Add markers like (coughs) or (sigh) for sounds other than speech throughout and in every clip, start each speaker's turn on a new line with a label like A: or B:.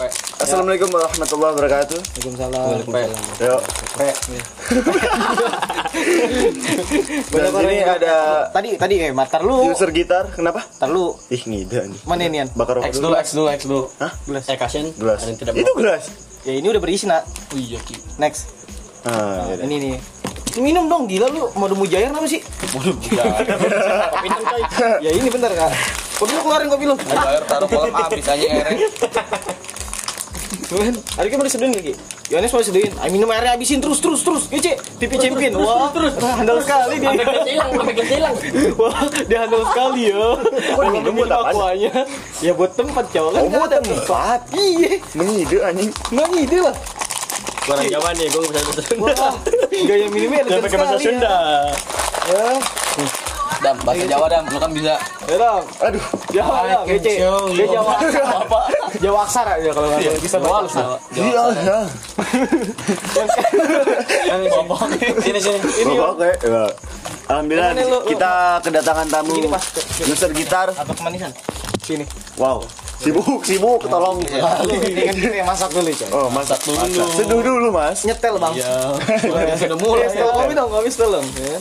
A: Pek.
B: Assalamualaikum warahmatullahi wabarakatuh.
C: Waalaikumsalam.
B: Yuk. (laughs) Dan ini ada
C: Tadi tadi eh matar lu.
B: user gitar. Kenapa?
C: Matar lu.
B: Oh. Ih ngida nih.
C: Mana nian?
B: Bakar
A: X
B: rokok
A: dulu, X dulu, X dulu.
B: Hah?
A: Gelas. Eh kasihan.
B: Gelas.
A: Ada yang tidak
B: Itu
A: mau.
B: gelas.
C: Ya ini udah berisi nak.
A: Oh, Iya ki.
C: Next.
B: Ah, iya deh.
C: Ini nih. Minum dong gila lu mau demu jair apa sih?
A: Waduh, gila.
C: (laughs)
A: Tapi ini coy.
C: ya ini bentar Kak. Kopi lu keluarin kopi lu.
A: Ada air taruh kolam habis aja airnya.
C: Cuman, hari kan udah seduin lagi. Yohanes mau seduin. Ayo minum airnya habisin terus terus terus. Ya Cik, TV champion. Wah, terus handal sekali dia.
D: Sampai gelas hilang, sampai gelas hilang.
C: Wah, dia handal sekali ya. Kok
B: diminum buat apaan?
C: Aquanya. Ya buat tempat cowok kan.
B: Oh, buat
C: ada tempat. Iya,
B: Mengide anjing.
C: emang ide lah.
D: Orang Jawa nih, gue bisa
C: Wah, gaya minumnya elegan sekali. ya. Ya,
A: Dam, bahasa Jawa dam, lu kan bisa.
C: ya dong.
B: Aduh.
C: Jawa ya, kece. Dia Jawa.
A: Apa?
C: Jawa aksara ya kalau nggak salah.
A: Bisa Jawa, Jawa.
B: Iya, iya.
A: Sini sini.
B: Ini oke. Ya. Alhamdulillah
C: Ini lu, lu.
B: kita kedatangan tamu
C: Ini, Mas.
B: user gitar.
C: Atau kemanisan. Sini.
B: Wow. Sibuk, sibuk, tolong.
C: Lu ingat kita yang masak dulu, Cok.
B: Oh, masak dulu. Seduh dulu, Mas.
C: Nyetel, Bang.
D: Ya,
A: (laughs) Udah sudah mulai.
C: Eh, Tolong kopi dong, kopi tolong. Ya.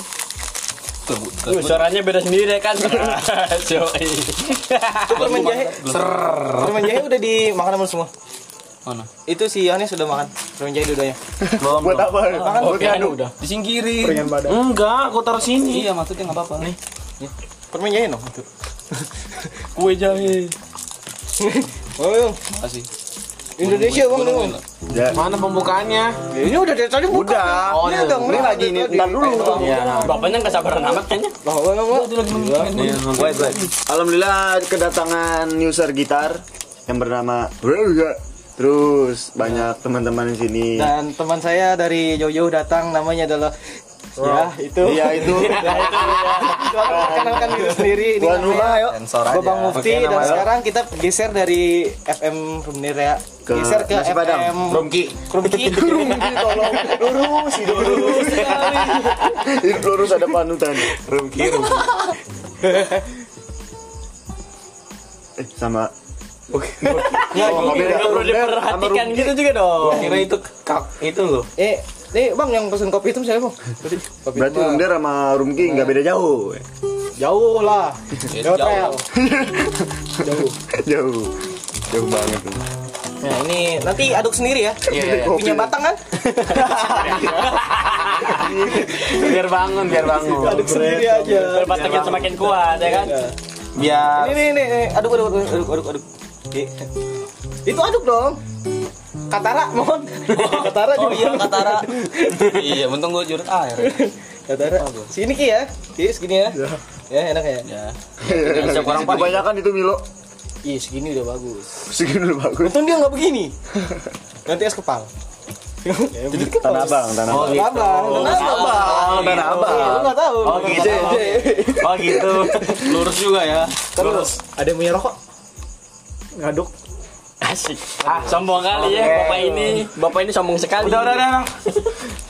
A: Tuh, tuh.
D: Tuh, suaranya beda sendiri kan. (laughs) Coy.
C: Permen jahe, permen jahe udah dimakan sama lu semua.
A: Mana?
C: Itu si Yohanes sudah makan permen jahe dudanya.
A: Belum.
B: Buat apa?
A: Kan
C: Makan
B: Buat ngadu.
C: udah.
A: Disingkirin.
B: badan.
D: Enggak, aku taruh sini.
A: Iya, maksudnya enggak apa-apa. Nih.
C: Permen jahe dong.
D: Kue jahe.
C: Oh, Yung.
A: Kasih.
C: Indonesia bang dong.
B: Ya.
D: Mana pembukaannya?
C: Ini udah dari tadi buka.
B: Udah.
C: Oh, ini udah
B: Ini lagi ini ntar dulu.
D: Iya.
A: Nah.
D: Bapaknya nggak sabaran amat kayaknya.
C: Wah, wah, wah, wah.
B: Wait, wait. Alhamdulillah kedatangan user gitar yang bernama Rega. Terus banyak teman-teman di sini.
C: Dan teman saya dari jauh-jauh datang namanya adalah Ya, itu.
B: Iya itu.
C: Silakan perkenalkan diri sendiri. Ini
B: Tuan
C: namanya
B: rumah ayo.
A: Sensor aja.
C: Babang Mufti
B: Oke,
C: dan
B: nama lo.
C: sekarang kita geser dari FM Rumnira
B: Ke
C: geser ke
B: Nasi Padang.
C: FM
A: (laughs) Romki.
C: Rumki. Rumki tolong.
B: Lurus, hidup lurus. hidup lurus ada panutan. Rum kiri. Eh, sama
C: Ya, gini.
B: beda.
D: Nggak perlu
B: Rumah sama
D: diperhatikan
B: rumah.
D: gitu juga dong. Kira itu kak itu loh.
C: Eh, nih Bang yang pesen kopi itu siapa, Bang? Kopi
B: berarti
C: hitam.
B: Rumder sama Rumki nggak beda jauh. (laughs)
C: jauh lah.
A: Ya,
C: Jauh.
A: jauh.
C: Jauh.
B: jauh. Jauh banget.
C: Nah, ini nanti aduk sendiri ya.
A: Iya, iya, iya.
C: Punya batang kan?
D: Biar bangun, biar bangun.
B: Iya.
C: aduk sendiri aja.
D: Biar batangnya semakin kuat ya kan. Biar
C: Ini nih, nih, nih. aduk aduk aduk aduk aduk. aduk. Oke. Itu aduk dong. Katara, mohon. Katara
A: Oh
C: juga.
A: iya, Katara. Iya, untung gue jurut air.
C: Katara. Sini Ki ya. Ki segini ya. Ya, enak ya.
A: Ya.
B: Banyak
A: siap orang paling.
B: Kebanyakan itu Milo.
C: Iya, segini udah bagus.
B: Segini udah bagus.
C: Untung dia nggak (laughs) begini. Nanti es kepal. (laughs) Jadi
B: Tanah Abang, Tanah Abang.
C: Ya, Tanah abang, tanah abang.
B: Oh, Tanah
C: Iya,
B: Abang.
C: lu nggak tahu.
D: Oh,
C: Lu
D: gitu.
C: nggak tahu.
D: Oh gitu.
A: Lurus juga ya.
C: Ntar lu, Ada yang punya rokok? Ngaduk.
D: Asik. Ah, sombong kali ya bapak ini. Bapak ini sombong sekali.
C: Udah, udah, udah. udah.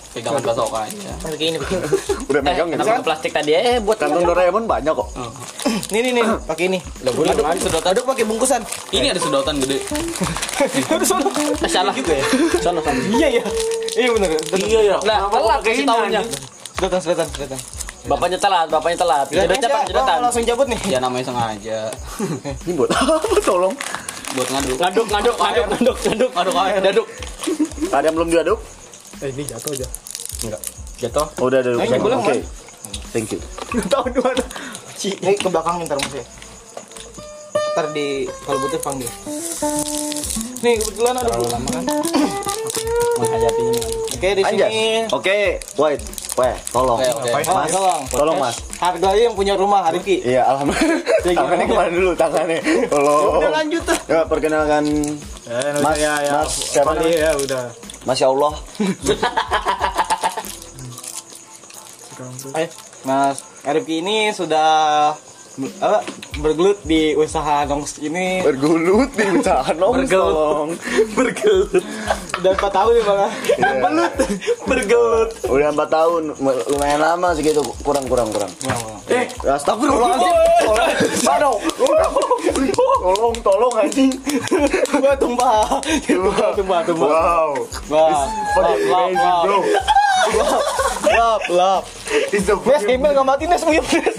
A: Pegangan pasokannya.
C: Begini, begini.
B: Udah
D: Eh,
B: megang gitu
D: kenapa ke ya. plastik tadi eh buat
B: Kantong Doraemon banyak kok.
C: (clears throat) Hmm. Nih, nih, nih. Pakai ini.
A: Udah boleh kan sedotan.
C: Aduk pakai bungkusan.
A: Ini ada sedotan gede.
C: Udah sono.
D: salah gitu ya. Salah kan.
C: Iya, iya. Iya benar.
D: Iya ya.
A: Nah, telat kasih tahunya.
C: Sedotan, sedotan, sedotan.
D: Bapaknya telat, bapaknya telat.
C: Udah
D: Jedetan, Pak,
C: Bang,
D: jedetan.
C: langsung cabut nih.
A: Ya namanya sengaja
B: Ini buat (laughs) apa tolong?
A: buat ngaduk.
D: Ngaduk, ngaduk, ngaduk, ngaduk, ngaduk,
A: Ngaduk air.
D: ngaduk.
B: Ada yang belum diaduk?
C: Eh, ini jatuh aja.
D: Jatuh.
B: Oh, udah ada.
C: Nah, ini boleh,
B: Oke. Thank you.
C: Tahu di mana? Ci, ini ke belakang ntar mas ya. Ntar di kalau butuh panggil. Nih kebetulan ada bu.
D: Menghayati ini.
C: Oke di sini.
B: Anjas. Oke, wait. Weh, tolong.
A: Oke, oke.
C: Mas, Mas, tolong.
B: Tolong, Mas.
C: Harganya yang punya rumah Rifki.
B: Iya, alhamdulillah. Tangannya kemana dulu tangannya?
C: Udah
B: Tolong.
C: lanjut Eh, tuh.
B: Ya, perkenalkan Mas, Mas, siapa namanya?
C: ya udah.
B: Masya Allah.
C: Eh, Mas Rifki ini sudah ber- apa, bergelut di usaha nongs ini
B: (laughs) Bergulut di usaha nong,
D: Bergelut.
B: tolong.
D: Bergelut.
C: udah 4 tahun ya bang
B: Bergelut.
D: Bergelut.
B: Udah 4 tahun, lumayan lama segitu,
C: Ya,
B: kurang kurang kurang.
C: Bang, bang.
B: Eh, astagfirullahaladzim. Tolong. Aduh. tolong tolong anjing
C: Gua tumpah. Tumpah, tumpah, tumpah.
B: wow
C: Wah,
B: fucking
C: lap,
B: amazing
C: lap,
B: bro
C: lap, lap, lap.
B: it's
C: Nes
B: so fucking
C: gembel nggak mati Nes uyup Nes.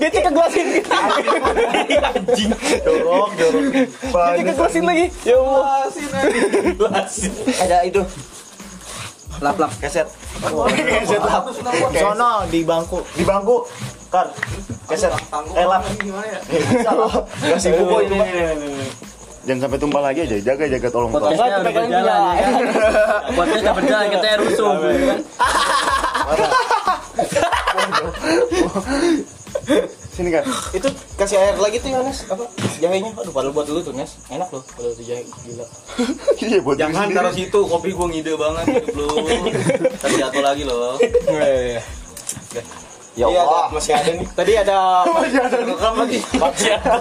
C: Dia kegelasin kita. Anjing.
B: jorok jorok
C: Dia kegelasin lagi. Ya Allah. Ada itu. Lap-lap keset.
B: Keset lap.
C: Di Sono di bangku.
B: di bangku kar
C: Keset. Eh lap.
B: kasih buku itu Pak. jangan sampai tumpah lagi aja jaga jaga tolong tolong
D: Podcastnya udah
C: pegang
D: berjalan ya kan? Podcast udah berjalan, kita air rusuh.
B: sini kar
C: Itu kasih air lagi tuh ya Nes. Apa? Jahenya. Aduh padahal buat lu tuh Nes. Enak loh padahal tuh jahe gila.
B: iya buat diri
A: Jangan
B: sendiri.
A: taruh situ, kopi gua ngide banget hidup
D: (laughs)
A: lu. Tadi jatuh lagi loh.
C: Ya Allah, masih ada nih. Tadi ada (laughs) masih ada rekam lagi. Masih ada.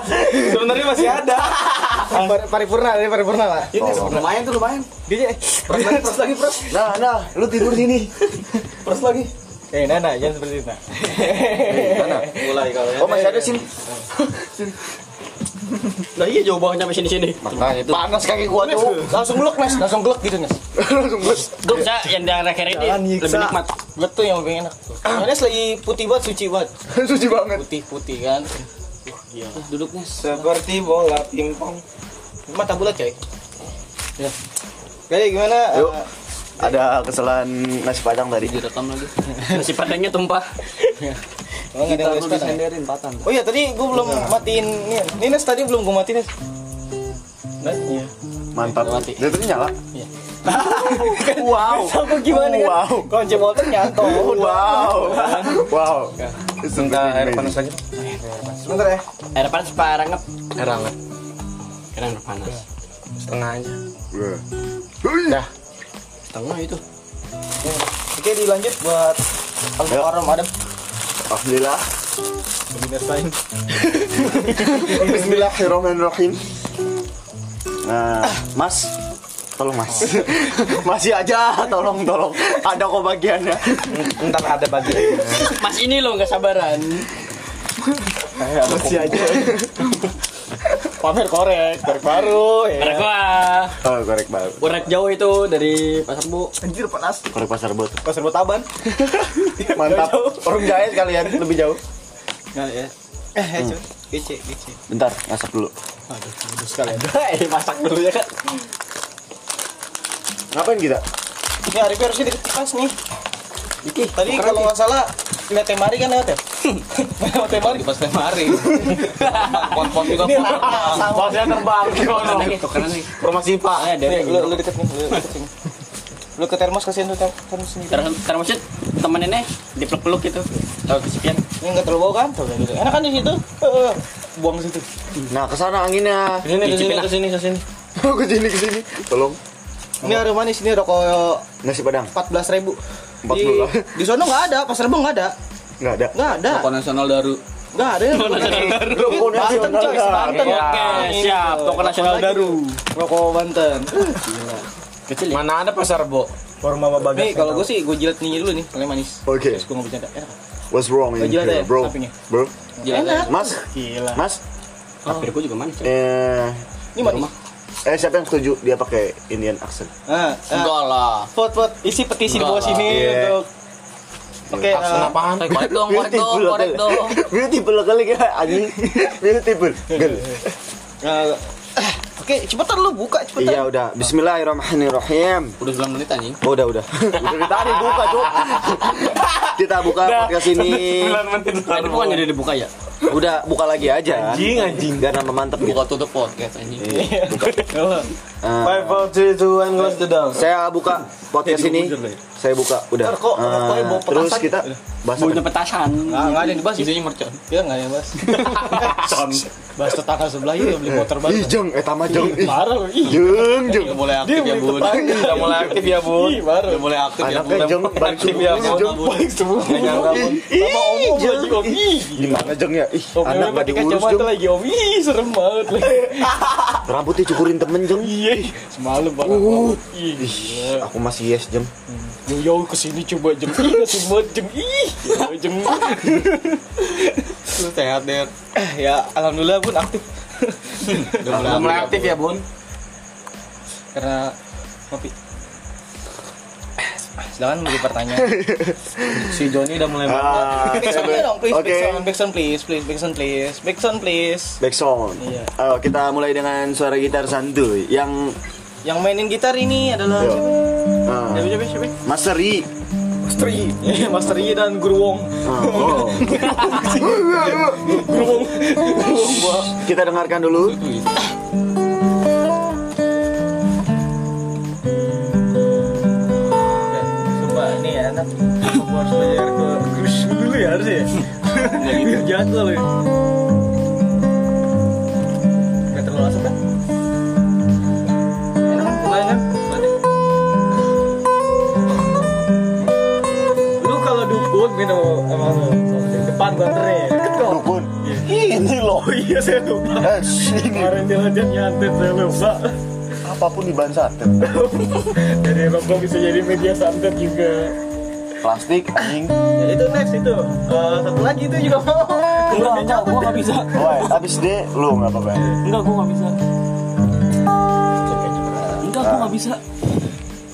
C: Sebenarnya masih (laughs) ada. paripurna, ini paripurna lah. Ini lumayan tuh lumayan. Dia pros lagi, pros lagi, pros.
B: nah nah lu tidur sini
C: Pros lagi. Eh, Nana, jangan seperti itu.
A: Mulai kalau ya.
B: oh masih ada sini
D: Lah iya jauh banget sampai sini-sini.
C: Panas kaki gua tuh. Langsung gelek, Nes. Langsung gelek gitu, Nes.
B: langsung bos
D: Gue bisa yang di arah kiri ini
C: Jangan nyiksa.
D: lebih nikmat.
C: Gelek tuh yang paling enak. Nes lagi putih banget, suci banget.
B: (laughs) suci banget
C: Putih-putih kan.
D: Iya. Duduknya
C: Seperti bola pingpong. Mata bulat, coy. Ya. Jadi gimana?
B: Yuk. ada kesalahan nasi padang tadi
A: Direkam lagi.
D: masih padangnya tumpah.
C: Emang Eh, oh, ada yang
A: Kita
C: ngeles
A: lu
C: patah?
A: disenderin patan.
C: Oh iya tadi gue belum matiin ini. Ini Nes tadi belum gue matiin Nes. Iya.
B: mantap
A: Mati.
B: dia tadi nyala
C: Wow. Aku gimana kan?
B: Wow.
C: Kunci motor nyantol.
B: wow wow It's something
A: Minta air
B: amazing.
A: panas aja.
C: Sebentar ya.
D: Air panas parang ngep.
A: Air hangat.
D: Keren panas.
A: Setengah aja.
B: Wah. Hui.
A: Setengah itu.
C: Oke dilanjut buat
B: Ayo.
C: Alvaro Adam.
B: Alhamdulillah
C: Binasain.
B: Bismillahirrahmanirrahim. Nah, Mas, tolong Mas. (laughs) Masih aja, tolong tolong. Ada kok bagiannya.
C: Ntar ada bagi.
D: Mas ini loh nggak sabaran.
B: Masih aja.
C: Pamer korek. Korek baru.
D: Ada
C: Ya.
D: gua.
B: Oh, korek banget.
D: Urek jauh itu dari pasar bu.
C: Anjir panas.
B: Korek pasar bot.
C: Pasar Botaban.
B: Mantap.
C: Orang jahe sekalian lebih jauh.
A: Enggak ya.
C: Eh, cuy. Gece, gece.
B: Bentar, masak dulu.
C: Aduh, bodoh sekalian.
D: (laughs) Eh masak dulu ya kan.
B: Ngapain kita?
C: Ini Arifnya harusnya dikit kipas nih. Tadi kalau nggak salah lihat temari kan (laughs) lewat ya? lewat temari.
A: Kipas
C: (laughs)
A: lemari. Pon-pon juga.
C: Ini lama. Sama.
D: terbang.
C: Rumah si Pak.
D: Eh, dari-
A: Iya.
C: lu, lu deket nih, lu deket sini. Lu ke termos kasihin tuh ter- termos sendiri.
D: Terus terus temen nenek dipeluk-peluk gitu. Tahu kesepian.
C: Ini nggak terlalu bau kan? Tuh, gitu. Enak kan di situ? Eh, Buang ke situ.
B: Nah, ke sana anginnya.
C: Ini
D: ke sini, ke
C: sini, sini.
B: (laughs) ke sini ke sini. Tolong.
C: Ini harum manis, ini rokok
B: Nasi padang.
C: 14 ribu. Di,
B: 14.
C: di sono nggak ada, pasar Rebo nggak ada,
B: Enggak ada.
C: nggak ada,
A: Rokok nasional daru.
C: nggak ada.
D: Rokok nasional
C: Banten, coy, Banten. Gitu.
D: Oke, siap. Toko nasional Daru.
C: Rokok Banten.
D: Kecil ya.
A: Mana ada pasar bo?
C: Nih kalau gue sih gue jilat ninja dulu nih, paling manis.
B: Oke.
C: Terus gue nggak bercanda. Enak.
B: What's wrong in
C: Baju ada ya,
B: here, bro?
C: sampingnya? Nah.
B: Bro.
A: Jelas.
B: Mas,
C: Gila.
B: Mas.
D: Hampir gua juga manis. ya.
B: Eh,
C: Ini mati.
B: eh siapa yang setuju dia pakai Indian accent?
C: Ah, ah.
A: Enggak lah.
C: Vote vote isi petisi di bawah
A: Enggak
C: sini
B: lah. Iya.
C: untuk Oke,
E: Iya.
C: eh,
A: apaan? Korek dong, korek dong,
B: Beautiful
A: korek
B: hotel.
A: dong.
B: (laughs) Beautiful kali ya anjing. Beautiful. Girl.
C: eh, eh, oke cepetan lu buka
B: Iya
C: cepetan.
B: udah. Bismillahirrahmanirrahim.
A: Udah 9 menit anjing.
B: Oh, udah (laughs) udah. Udah dari tadi buka, Cuk. Kita buka podcast ini.
D: Tadi bukan jadi
C: (laughs)
D: dibuka ya.
B: Udah buka lagi aja. Anjing anjing. Biar nama mantep gitu.
A: Buka tutup podcast anjing.
B: Eh,
C: Five, four, three, two, one, close the door.
B: saya buka podcast ini. Saya buka udah.
C: Ntar kok,
B: Eh,
C: pokoknya bawa petasan.
B: terus kita bahas
D: Bunyi
B: apa?
D: petasan.
C: Nggak nggak ada yang dibahas.
A: Isinya mercon.
C: Ya nggak ada yang bahas. (laughs) Bahas tetangga sebelah itu yang beli motor baru. Iya,
B: Ih, jeng, eh tama jeng. Ih,
C: Parah lu. Ih,
B: Jeng, jeng.
A: Udah mulai aktif ya, Bun. Udah mulai aktif ya, Bun. Udah mulai aktif ya, Bun.
B: Anaknya jeng,
C: Iya,
B: balik
A: ya,
B: semuanya jeng.
A: Bun. Nggak nyangka, Bun.
C: Sama Omo gua lagi Om. Ih,
B: Gimana jeng ya? Ih,
C: Om
B: anak
C: Om
B: gak
C: pakai
B: diurus
C: kacamata
B: jeng.
C: lagi Om. Ih, serem banget lagi.
B: Rambutnya cukurin temen jeng.
C: Iya, semalam banget.
B: Uh.
C: Ih, gila.
B: Aku masih yes jeng.
C: Yo yo kesini coba jem ih kesini jem ih coba jem Lu sehat deh. (clears throat) Ya alhamdulillah bun
B: (laughs)
C: aktif. Udah mulai
A: Udah mulai aktif ya bun
C: karena ngopi. (clears throat) Silakan beri
B: (laughs)
C: pertanyaan. si Joni udah mulai
B: Ah,
C: Back sound
B: oke.
C: Nah, dong, please.
B: Oke.
C: Back sound, back sound, please, please, back sound, please, back sound, please.
B: Back sound.
C: Iya.
B: Ayo, kita mulai dengan suara gitar santuy yang
C: Yang mainin gitar ini adalah
B: Yo. ah,
C: siapa? Siapa? Siapa?
B: Master Yi.
C: Master Yi. Iya, Master Yi dan Guru Wong.
B: Ah, oh.
C: (laughs) Guru Wong. Guru Wong gua.
B: kita dengarkan dulu.
C: Ya, Sumpah, ini ya anak. Gua harus bayar ke kursus dulu ya harusnya. ya. Ini jadwal ya. Gak terlalu asap kan? Enak kan? Lumayan kan? Mantap. Lu kalau dukun minum sama lu. Depan gua (laughs) anterin. Deket kok.
B: Dukun.
C: Ini loh. Iya saya lupa.
B: Eh, sini.
C: Kemarin dia latihan nyantet saya lupa.
B: Apapun di bahan santet.
C: Dari rokok bisa jadi media santet juga.
B: Plastik, anjing.
C: Ya, itu next itu. Eh, satu lagi itu juga mau. (laughs) Enggak, enggak, gua enggak bisa.
B: Woi, abis deh lu nggak apa-apa. Ah,
D: Enggak, gua nggak bisa. Enggak, gua nggak bisa.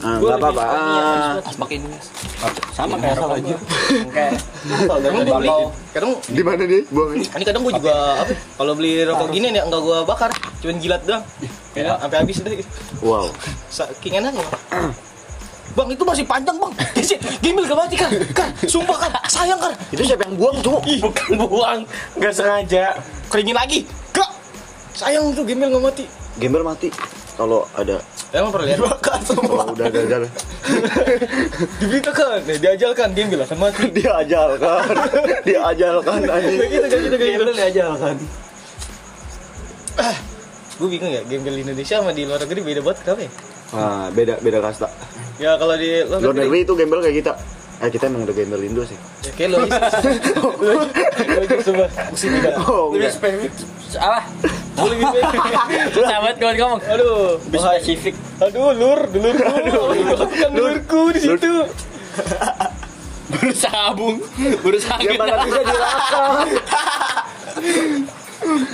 B: Ah, Nggak apa-apa. Ah,
D: Harus pakai ini. Mas. Sama kayak asal aja.
C: Oke. Kadang gua beli, kadang
B: di mana nih? Buang ini.
C: ini kadang gua juga apa? ya, Kalau beli rokok gini nih enggak gua bakar, cuman jilat doang. Ya, sampai habis deh.
B: Wow.
C: Saking enaknya. Bang itu masih panjang bang, (laughs) Isi, gimil gak mati kan, kan, sumpah kan, sayang kan,
B: Itu siapa yang buang tuh?
C: Ih, bukan buang, nggak sengaja. Keringin lagi. Gak. Sayang tuh gembel nggak mati.
B: Gamer mati. Kalau ada,
C: Emang pernah (laughs) lihat? Dibakar semua.
B: kalau udah (laughs) gagal,
C: Diberitakan, eh, diajalkan gembel akan mati.
B: dia (laughs) ajalkan, dia ajalkan anjing.
C: Kayak gitu, kayak gitu, kayak gitu. diajalkan. Gue bingung ya, gembel di Indonesia sama di luar negeri beda banget kenapa ya?
B: Ah, beda beda kasta.
C: Ya kalau di luar
B: Luar
C: negeri,
B: negeri itu gembel kayak kita. Eh kita emang udah gembel Indo sih.
C: ya, kayak lo. gitu. Lo coba, pusing juga.
B: Oh,
A: Iya.
B: enggak.
D: spesifik. Salah.
C: Gua lebih baik.
D: Sahabat kawan kamu.
C: Aduh, bahaya.
D: Spesifik.
C: Aduh, lur, dulurku. Bukan dulurku di situ.
D: Bersabung. Berusaha gitu.
B: Dia mana bisa dirakam.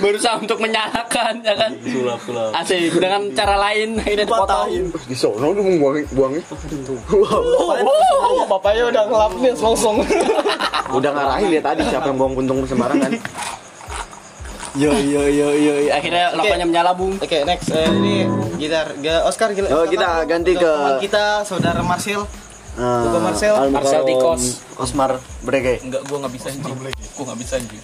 D: berusaha untuk menyalahkan ya kan
A: Sulap sulap
D: asik dengan cara lain akhirnya dipotong
B: Di sono lu mau buang buangnya. Wow.
C: Oh, bapaknya udah ngelap nih langsung.
B: Udah ngarahin dia tadi siapa yang buang puntung sembarangan.
D: yo yo yo yo yo. akhirnya lapanya menyalabung
C: Oke, next. Eh, ini gitar Ga- Oscar gila.
B: Oh, kita
C: Karena
B: ganti
C: untuk
B: ke-
C: teman kita saudara Marcel.
B: Ah,
C: Bukan Marcel.
B: Almarhum
D: Marcel Tikos.
B: Osmar Brege.
A: Enggak gua nggak bisa anjing Gua nggak bisa anjing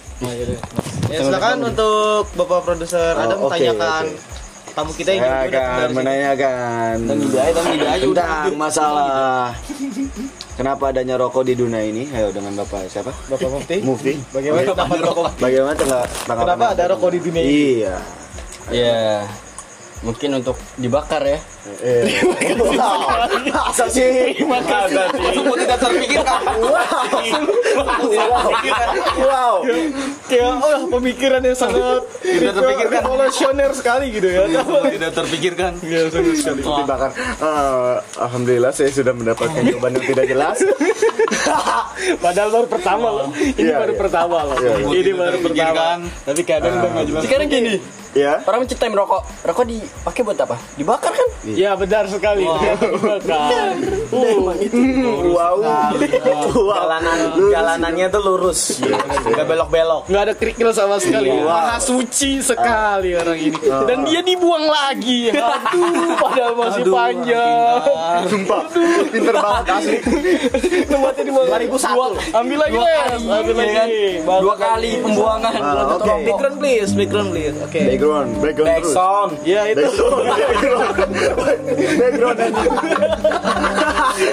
C: Ya, silakan untuk Bapak produser
B: Oh,
C: Adam
B: oke,
C: tanyakan
B: oke.
C: tamu kita yang udah
B: Saya akan
C: dari-
B: menanyakan tentang masalah kenapa adanya rokok di dunia ini. Ayo dengan Bapak siapa?
C: Bapak Mufti.
B: Mufti.
C: Bagaimana
B: Oke.
C: pendapat rokok?
B: Bagaimana tangga- tanggapan
C: Kenapa
B: Anda?
C: ada rokok di dunia ini? Iya.
B: Iya.
D: ya mungkin untuk dibakar ya
C: (laughs)
B: Eh. Masa sih?
A: Semua tidak terpikirkan
B: Wow.
C: Kayak oh, pemikiran yang sangat
A: Tidak terpikirkan.
C: revolusioner sekali gitu ya.
A: Tidak terpikirkan
C: Iya, sangat sekali.
B: Dibakar. Eh, Alhamdulillah saya sudah mendapatkan jawaban yang tidak jelas.
C: Padahal baru pertama loh. Ini
B: Iya,
C: baru
B: iya.
C: pertama loh.
B: Iya, iya.
C: Ini baru pertama.
A: Terpikirkan.
C: Tapi kadang udah nggak jelas.
D: sekarang gini
B: Ya.
D: orang menciptain rokok rokok dipakai buat apa dibakar kan
C: Ya benar sekali. Benar.
B: Wow. Jalanan
A: Jalanannya tuh lurus Gak belok-belok
C: Nggak ada kerikil sama sekali. Maha suci sekali orang ini. Dan dia Iya, dibuang lagi. Aduh, padahal masih panjang.
B: Sumpah. Pinter banget asli.
C: Tempatnya dibuang. 2001. Ambil lagi, Les. Ambil lagi. Bagus.
D: ya kan? Iya dua kali pembuangan
B: Ah,
D: buat
B: oke.
D: rokok.
C: Background please, background please. Oke.
B: Background, background terus.
A: Sound
C: Ya itu.
B: Background, background, background, anjing.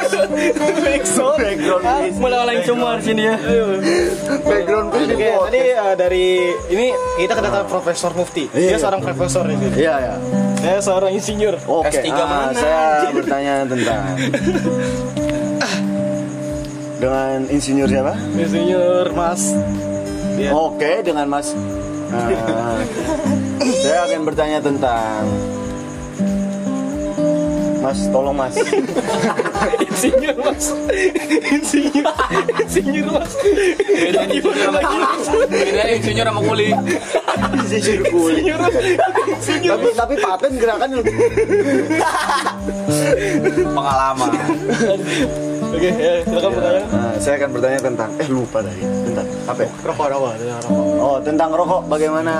C: Background.
B: background, please.
D: mulai orang cuma sini ya
B: background, please.
C: Oke, tadi eh, dari ini kita kedatangan Profesor Mufti.
B: Iya,
C: Dia seorang profesor di sini.
B: Iya ya.
C: Saya seorang insinyur.
B: Oke.
D: S3
B: ah,
D: mana,
B: saya bertanya tentang dengan insinyur siapa?
C: Insinyur Mas. Iya.
B: Oke, dengan Mas. Ah, saya akan bertanya tentang Mas, tolong Mas.
C: Insinyur Mas. Insinyur. Insinyur Mas. Beda lagi. Beda
D: aja insinyur sama kuli.
B: tapi tapi paten gerakan lu.
C: pengalaman
D: Oke, ya, silakan bertanya.
B: Nah, saya akan bertanya tentang eh lupa tadi tentang apa ya?
C: rokok rokok rokok
B: oh tentang rokok bagaimana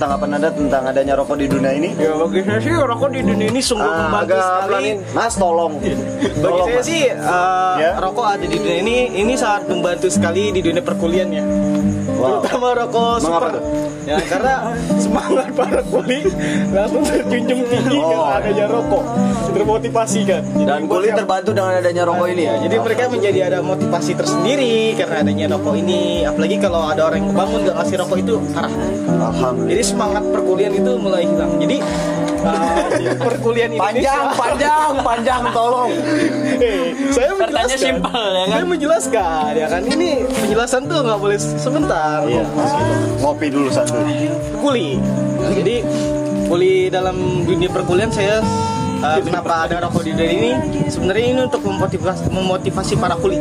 B: tanggapan anda tentang adanya rokok di dunia ini
C: ya bagusnya sih rokok di dunia ini sungguh
B: Ah,
C: membagi
B: agak
C: sekali
B: pelanin mas tolong
C: Bagi
B: tolong
C: saya
B: Mas.
C: sih eh,
B: Ya.
C: rokok ada di dunia ini ini sangat membantu sekali di dunia perkuliahan ya.
B: Wow.
C: Terutama rokok
B: Mengapa
C: super.
B: tuh?
C: Ya, karena (laughs) semangat para kuli langsung terjunjung tinggi
B: Oh,
C: karena
B: ya.
C: adanya rokok. Termotivasi kan. Jadi
B: dan
C: buat
B: kulit
C: yang-
B: terbantu dengan adanya rokok ini ya
C: jadi mereka menjadi ada motivasi tersendiri karena adanya rokok ini. Apalagi kalau ada orang yang bangun gak ngasih rokok itu parah.
B: alhamdulillah
C: Jadi semangat perkuliahan itu mulai hilang. Jadi
B: (laughs)
C: eh, perkuliahan Indonesia
B: panjang panjang panjang tolong
C: Hei, saya
D: Pertanyaan
C: menjelaskan.
D: simpel, ya kan?
C: Saya menjelaskan ya kan. Ini penjelasan tuh nggak boleh sebentar.
B: Iya, ngopi dulu satu
C: Kuli. Jadi kuli dalam dunia perkuliahan saya uh, kenapa ada rokok di dunia ini? Sebenarnya ini untuk memotivasi, memotivasi para kuli.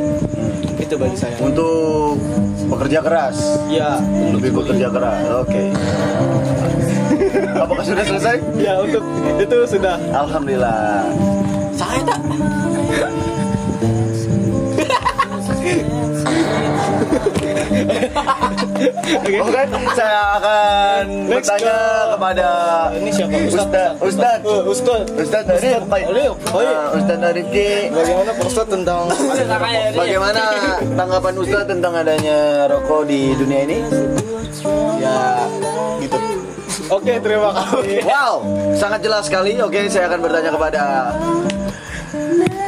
C: Itu bagi saya.
B: untuk bekerja keras
C: Ya, untuk
B: lebih
C: kuli.
B: bekerja keras oke apakah sudah selesai
C: Ya untuk itu sudah.
B: alhamdulillah
D: Saya tak.
B: oke saya akan
C: Next
B: bertanya
C: ke-
B: kepada
C: Ini siapa?
B: Ustad Ustad
C: Eh, Ustaz.
B: Ustad dari
C: Oleh, oleh.
B: Ustad dari
C: Bagaimana Ustaz tentang
B: Bagaimana tanggapan Ustaz tentang adanya rokok di dunia ini?
C: ya gitu. Oke, terima kasih.
B: Wow, sangat jelas sekali. Oke, saya akan bertanya kepada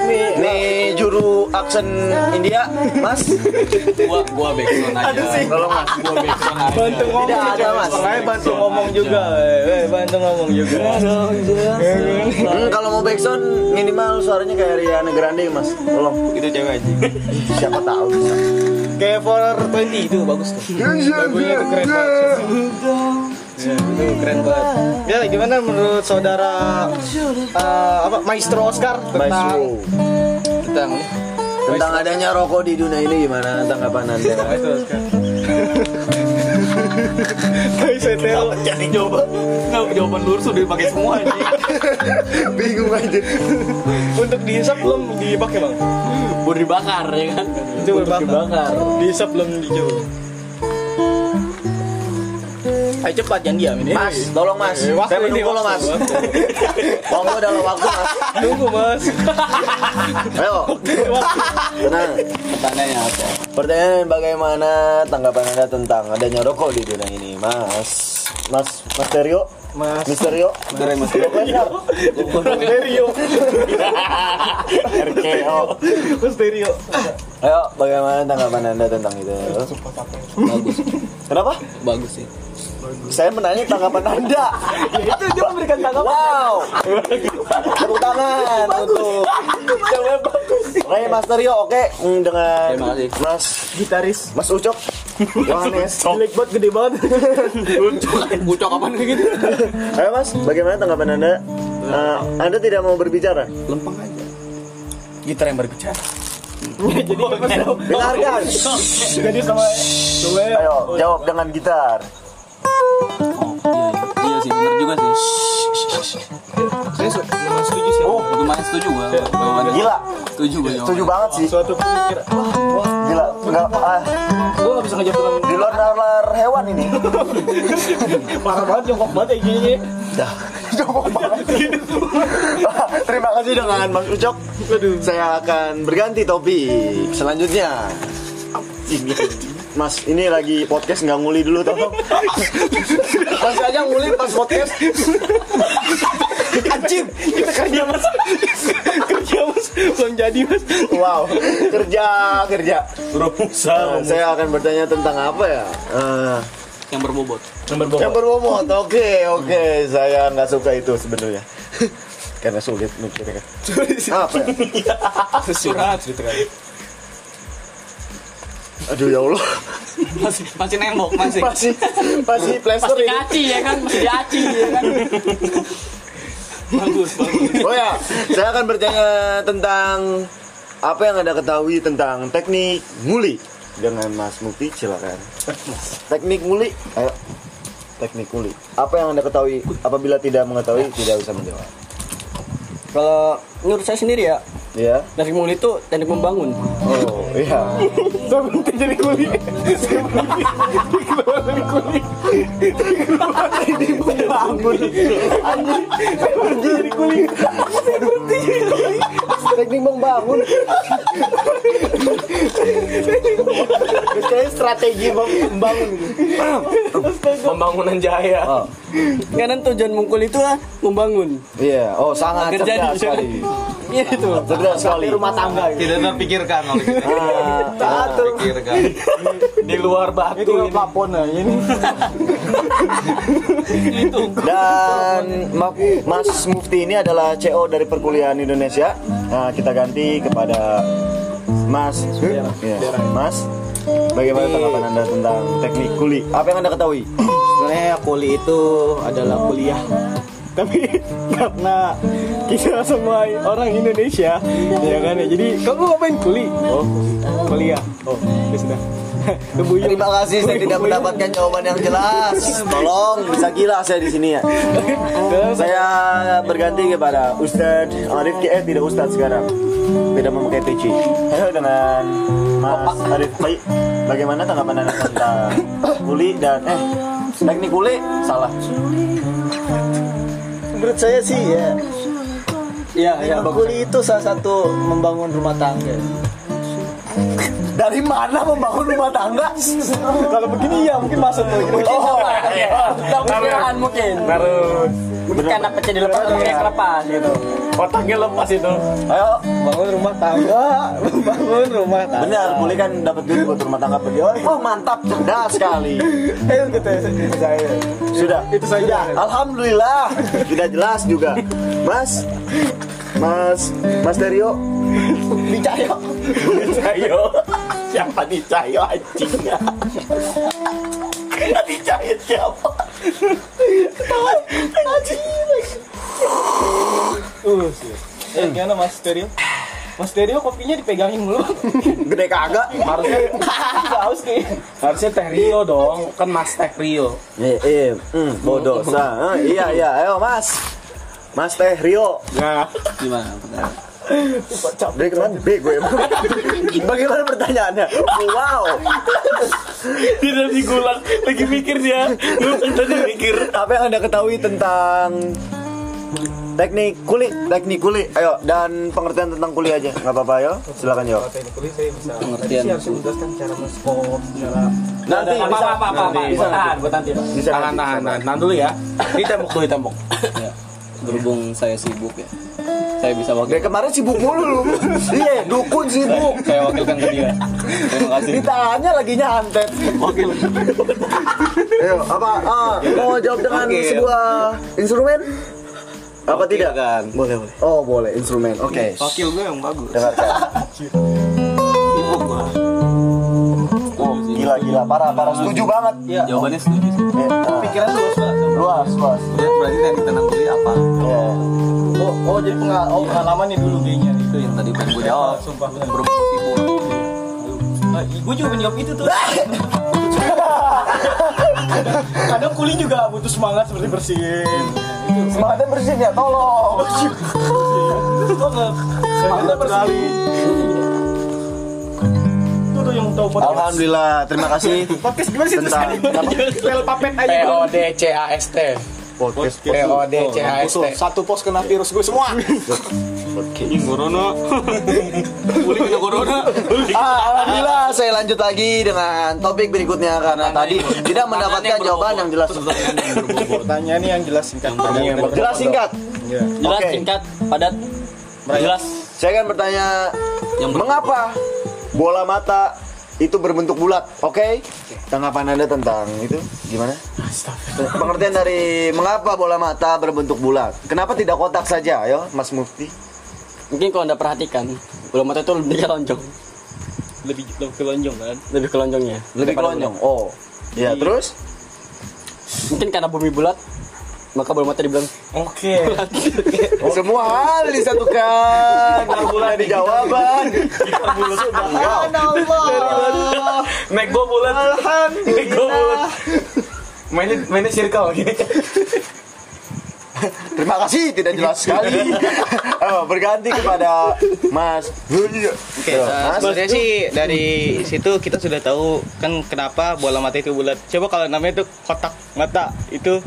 C: Nih,
B: nih juru aksen India, Mas.
D: Gua gua backsound aja.
C: Aduh sih.
B: Tolong Mas.
D: Gua backsound aja.
C: Bantu ngomong
B: Tidak ada,
C: coy.
B: Mas.
C: Makanya bantu ngomong juga. eh. Eh, Bantu ngomong juga. Iya.
B: Hmm, kalau mau backsound minimal suaranya kayak Rihanna Grande, Mas. Tolong.
C: Itu cewek aja.
B: Siapa tahu.
C: Kayak for 20 itu bagus tuh.
B: Iya,
C: Lagunya tuh keren banget. Ya, itu keren banget. Ya, gimana menurut saudara eh, apa Maestro Oscar Nah, tentang
B: Maestro.
C: tentang
B: Tentang adanya rokok di dunia ini gimana tanggapan Anda?
C: Maestro Oscar. Tapi saya tahu.
D: Jadi jawaban, nggak jawaban lurus udah dipakai semua ini.
B: (laughs) Bingung aja.
C: untuk dihisap belum dipakai bang?
D: Udah dibakar ya kan.
C: Itu dibakar. Dihisap belum dijual. Ayo cepat jangan diam ini.
B: Mas, tolong Mas.
C: Eh, waktu
B: Saya
C: ini,
B: menunggu lo, Mas.
C: waktu,
B: Waktu adalah waktu, Mas.
C: Tunggu mas.
B: Ayo, tenang.
A: Pertanyaannya apa?
B: Pertanyaan bagaimana tanggapan Anda tentang adanya rokok di dunia ini, Mas? Mas Misterio?
C: Mas.
B: Misterio?
A: Dari Mas Rio.
C: Stereo.
B: RKO.
C: Aku stereo.
B: Ayo, bagaimana tanggapan Anda tentang itu?
A: Bagus,
B: Kenapa?
A: bagus sih.
B: Saya menanya tanggapan Anda.
C: Itu dia memberikan tanggapan.
B: Wow. Tepuk tangan untuk Ray Masterio, oke Hmm, dengan
A: Terima kasih.
B: Mas
C: Gitaris.
B: Mas Ucok, ya. Yohanes.
C: Jelek banget gede banget. (laughs)
D: Bucok apaan kayak gitu.
B: Ayo Mas, bagaimana tanggapan Anda? Eh, anda tidak mau berbicara?
A: Lempeng aja.
D: Gitar yang berbicara.
C: Jadi
B: Dengarkan.
C: jadi sama (laughs) coba.
B: Ayo, jawab dengan gitar.
A: Oh, iya, iya. iya sih, bener juga sih.
C: Saya su- memang setuju sih.
A: Oh, lumayan setuju gua. Jawabannya.
B: Gila,
A: Setuju gua. jawabannya.
B: setuju banget sih.
C: Suatu pemikiran. Wah,
B: Gila, enggak ah,
C: gue gak bisa ngejawab dengan
B: di luar nalar hewan ini.
C: (laughs) parah banget, jongkok banget ya gini.
B: (laughs) Dah.
C: (laughs)
B: Terima kasih dengan Mas Ucok. Saya akan berganti topik selanjutnya. Ini- Mas, ini lagi podcast nggak nguli dulu tolong. Mas aja nguli pas podcast. Anjing.
C: Kita kerja mas. kerja Iya, mas. Belum jadi mas.
B: Wow, kerja kerja.
A: Romusa.
B: Eh, saya akan bertanya tentang apa ya? Eh,
D: Yang berbobot.
C: Nomor
B: yang berbobot. Oke, oke. Saya nggak suka itu sebenarnya. Karena sulit mikirnya.
C: (laughs)
B: Apa ya?
C: Ah,
D: Curhat gitu kan.
B: Aduh ya Allah.
D: Masih masih nembok masih.
B: Masih masih plaster ini.
D: Masih diaci ya kan, masih diaci ya kan. Bagus, bagus.
B: Oh ya, saya akan bertanya tentang apa yang Anda ketahui tentang teknik nguli. dengan Mas Muki silakan. Teknik nguli, ayo. Teknik nguli. Apa yang Anda ketahui? Apabila tidak mengetahui, tidak bisa menjawab.
D: Kalau menurut saya sendiri ya,
B: Ya.
D: dari mulut itu teknik membangun.
B: Oh, iya.
C: Saya berhenti jadi kuli. Saya berhenti dikeluar dari kuli. Dikeluar dari kuli. Anjing, saya berhenti jadi kuli. Saya berhenti jadi kuli.
B: Teknik membangun. Biasanya strategi membangun.
D: Pembangunan jaya.
B: Oh,
D: Karena tujuan mungkul itu ah, membangun.
B: iya. Oh, sangat
D: Agar jadi.
B: cerdas sekali.
D: Iya itu.
B: Cerdas sekali.
C: Rumah tangga gitu.
A: Tidak terpikirkan oleh kita.
B: Ah,
A: Tidak terpikirkan.
D: Di luar
C: Ini
D: batu
C: tinggal
D: ini.
C: plafon aja (laughs) ini.
B: Dan Ma- Mas Mufti ini adalah CO dari perkuliahan Indonesia. Nah, kita ganti kepada Mas. Iya, Mas. Bagaimana tanggapan Anda tentang teknik kuli? Apa yang Anda ketahui?
C: Sebenarnya kuli itu adalah kuliah. Tapi (laughs) karena kita semua orang Indonesia, ya kan ya. Jadi kamu ngapain kuli? Oh, kuliah. Oh, ya sudah. (laughs) Lebih
B: Terima kasih saya tidak mendapatkan jawaban yang jelas. Tolong bisa gila saya di sini ya. Saya berganti kepada Ustadz Arif Ki- eh tidak Ustadz sekarang. Tidak memakai peci. Halo dengan Mas Arif Ki. Bagaimana tanggapan Anda tentang kuli dan eh teknik kuli salah.
C: menurut saya sih ya
B: Iya,
C: ya ya kuli itu salah satu membangun rumah tangga
B: Dari mana membangun rumah tangga?
C: kalau begini ya mungkin Iya. masuk tuh
B: Oh,
D: Taruhan mungkin. Karena pecah di lepas pakai kelepas gitu. Otaknya lepas itu.
B: Ayo,
C: bangun rumah tangga bangun rumah tangga
B: benar, kuli kan dapat duit buat rumah tangga pergi. Oh, mantap, cerdas sekali.
C: Eh, (laughs) gitu ya, saya
B: Sudah.
C: itu saja
B: Alhamdulillah tidak jelas juga, Mas. Mas, Mas Dario,
C: dicaya
D: Cayo. Siapa nih Cayo anjingnya? Nanti Cayo siapa?
C: uh eh gimana mas Terio Mas Terio kopinya dipegangin mulu
B: gede kagak.
C: harusnya haus nih
D: Harusnya Teh Rio dong, kan Mas Teh Rio.
B: Eh, eh, hmm, bodoh. Sa. Eh, iya, iya, ayo Mas. Mas Teh Rio,
D: Nah,
B: dari kemarin bego emang. Bagaimana pertanyaannya? Wow,
D: dia tadi gulang lagi mikir dia. Gulang tadi mikir.
B: apa yang anda ketahui tentang teknik kulit, teknik kulit, ayo dan pengertian tentang kulit aja, nggak apa-apa ayo, silakan yo.
C: pengertian harus menjelaskan cara meskop cara
B: Nanti
D: apa,
B: bisa,
D: apa, apa, apa,
B: bisa,
D: Tahan, buat nanti. Pak.
B: bisa.
E: tahan
B: nanti.
E: tahan tahan tahan dulu ya ditembok dulu ditembok
D: Ya. Berhubung saya sibuk ya, saya bisa wakil.
B: Dari kemarin sibuk mulu lu, iya dukun sibuk.
D: Saya wakilkan ke dia. Terima kasih.
B: Ditanya lagi nyantet.
D: Wakil.
B: Ayo, apa? Ah, mau jawab dengan
E: Oke.
B: sebuah instrumen? Apa tidak?
E: kan.
B: Boleh, boleh. Oh, boleh instrumen. Oke.
E: wakil gue yang bagus
B: Dengarkan. Oh, gila gila parah parah setuju banget.
C: Iya.
E: jawabannya setuju sih.
B: Eh, ah,
C: pikiran luas lah
B: luas luas.
E: Udah, berarti yang ditendang dulu apa
B: Iya.
C: oh oh jadi pengal oh pengalaman nih dulu kayaknya nih
E: itu yang tadi pengen gue jawab
B: Oh,
C: sumpah bener
E: berhubung sibuk
C: Ah, gue juga menjawab itu tuh. Kadang kuli juga butuh semangat seperti bersin.
B: Semangatnya bersin ya, tolong.
C: Semangat bersin. Itu tuh yang tahu podcast.
B: Alhamdulillah, terima kasih.
C: Podcast gimana sih
B: Tentang-
C: tulisannya? Pel papet aja.
D: P O D C A S T.
B: Podcast
D: P O D C A S T.
C: Musuh, satu pos kena virus gue semua.
E: ini corona boleh kena corona
B: Ah, Alhamdulillah saya lanjut lagi dengan topik berikutnya karena tadi tidak mendapatkan jawaban yang jelas.
C: Pertanyaan yang jelas kan. singkat.
B: Jelas singkat.
D: Jelas,
B: Oke.
D: singkat, padat, jelas.
B: Saya akan bertanya
E: Yang ber-
B: mengapa bola mata itu berbentuk bulat, oke? Tanggapan anda tentang itu gimana? Pengertian dari mengapa bola mata berbentuk bulat? Kenapa tidak kotak saja, ayo Mas Mufti?
D: Mungkin kalau anda perhatikan, bola mata itu lebih kelonjong.
C: Lebih lebih kelonjong kan?
D: Lebih ya. kelonjongnya.
B: Lebih
D: daripada
B: kelonjong. Oh, ya terus?
D: bulat. Mungkin karena bumi bulat, maka bola mata dibilang
C: Oke.
B: Semua hal disatukan. Tidak ada jawaban.
C: Subhanallah.
E: Nek gua bulat. Nek gua bulat. Mainnya mainnya circle gini.
B: Terima kasih, tidak jelas sekali. Oh, berganti kepada Mas.
F: Oke, uh, sebenarnya sih dari situ kita sudah tahu kan kenapa bola mata itu bulat. Coba kalau namanya itu kotak mata itu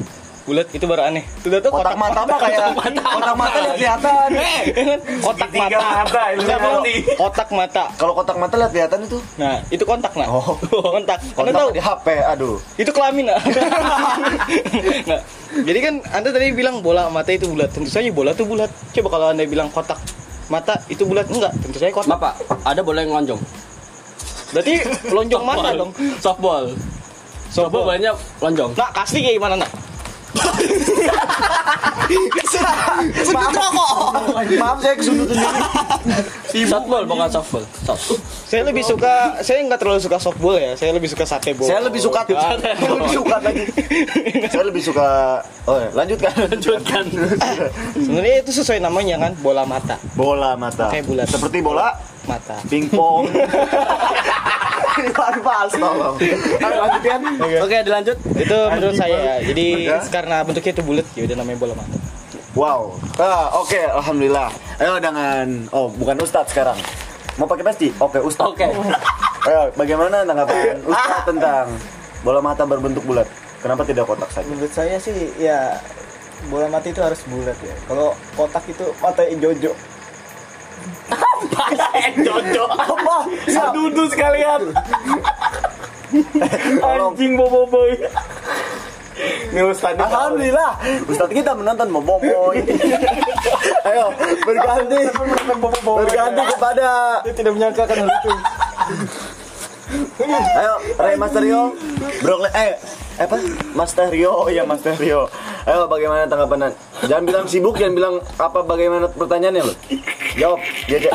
F: bulat itu baru aneh. Sudah tuh
B: Kotak
F: kotak,
B: mata mah kayak
E: (laughs)
B: kotak mata lihat kelihatan.
E: Iya kan?
F: kotak mata. Enggak, kalau kotak mata.
B: Kalau kotak mata lihat kelihatan itu.
F: Nah, itu kontak nah.
B: Oh.
F: kontak. Anda
B: Kotak
F: tahu
B: di HP, aduh.
F: itu kelamin nah. Nah, Jadi kan Anda tadi bilang bola mata itu bulat. Tentu saja bola itu bulat. Coba kalau Anda bilang kotak mata itu bulat enggak? Tentu saja kotak.
D: Bapak, ada bola yang lonjong.
F: Berarti lonjong mata dong.
D: Softball. Softball
F: Softball.
D: banyak lonjong.
F: Nak, asli kayak gimana, Nak?
B: Maaf saya kesundut sendiri.
D: Softball bukan softball. Soft.
F: Saya lebih suka, saya nggak terlalu suka softball ya. Saya lebih suka sate bola. Nah,
B: Saya lebih suka Saya lebih suka lagi. Saya lebih suka Oh, ya, lanjutkan.
D: Lanjutkan.
F: Sebenarnya itu sesuai namanya kan, bola mata,
B: Bola mata.
F: Kayak bulat.
B: Seperti bola
F: mata.
B: pingpong. Pas tolong. Ayo, lanjutkan.
D: Oke, dilanjut.
F: Itu menurut saya. Jadi
B: Maka?
F: karena bentuknya itu bulat, ya udah namanya bola mata.
B: Wow. Ah, oke, alhamdulillah. Ayo dengan Oh, bukan Ustadz sekarang. Mau pakai pasti? Oke, Ustadz.
D: Oke.
B: Ayo, bagaimana tanggapan Ustadz tentang bola mata berbentuk bulat? Kenapa tidak kotak saja?
C: menurut saya sih ya bola mata itu harus bulat ya kalau kotak itu mata jojo
D: Duduk sekalian.
B: Tolong.
D: bobo boy.
B: Alhamdulillah, Ustadz kita menonton (laughs) Boboiboy. Ayo, berganti berganti kepada
C: saya tidak menyangkakan hal itu
B: Ayo, Ray Masterio, Bro eh apa? Masterio, ya Masterio. Ayo bagaimana tanggapan Nan? Jangan bilang sibuk, jangan bilang apa bagaimana pertanyaannya lo. Jawab, ya, ya.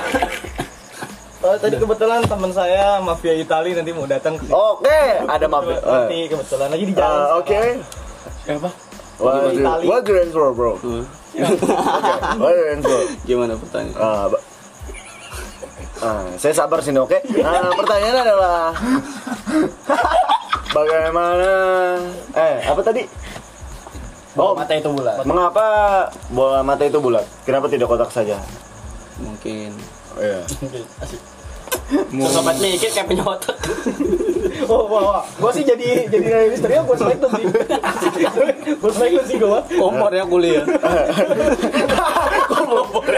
C: Oh, tadi kebetulan teman saya mafia Itali nanti mau datang
E: Eh.
C: ke
B: Oke, ada maaf. ya. Eh,
C: nanti kebetulan lagi di
B: eh,
C: jalan
B: Oke.
E: Apa?
B: What do-
C: Itali.
B: What do you answer, bro?
E: Hmm.
B: Oke, what do you answer?
E: Gimana pertanyaan?
B: Ah, ba- Ah, saya sabar sini, oke? Nah, pertanyaannya adalah (laughs) bagaimana? Eh, apa tadi? Oh,
D: Mata itu bulat.
B: mengapa bola mata itu bulat? Kenapa tidak kotak saja?
E: Mungkin
B: Iya. (laughs)
D: Sobat mikir kayak punya otak.
C: oh wah wah gue sih jadi jadi Ray Mysterio gue selek tuh sih gue selek tuh sih gue
E: kompornya kuliah.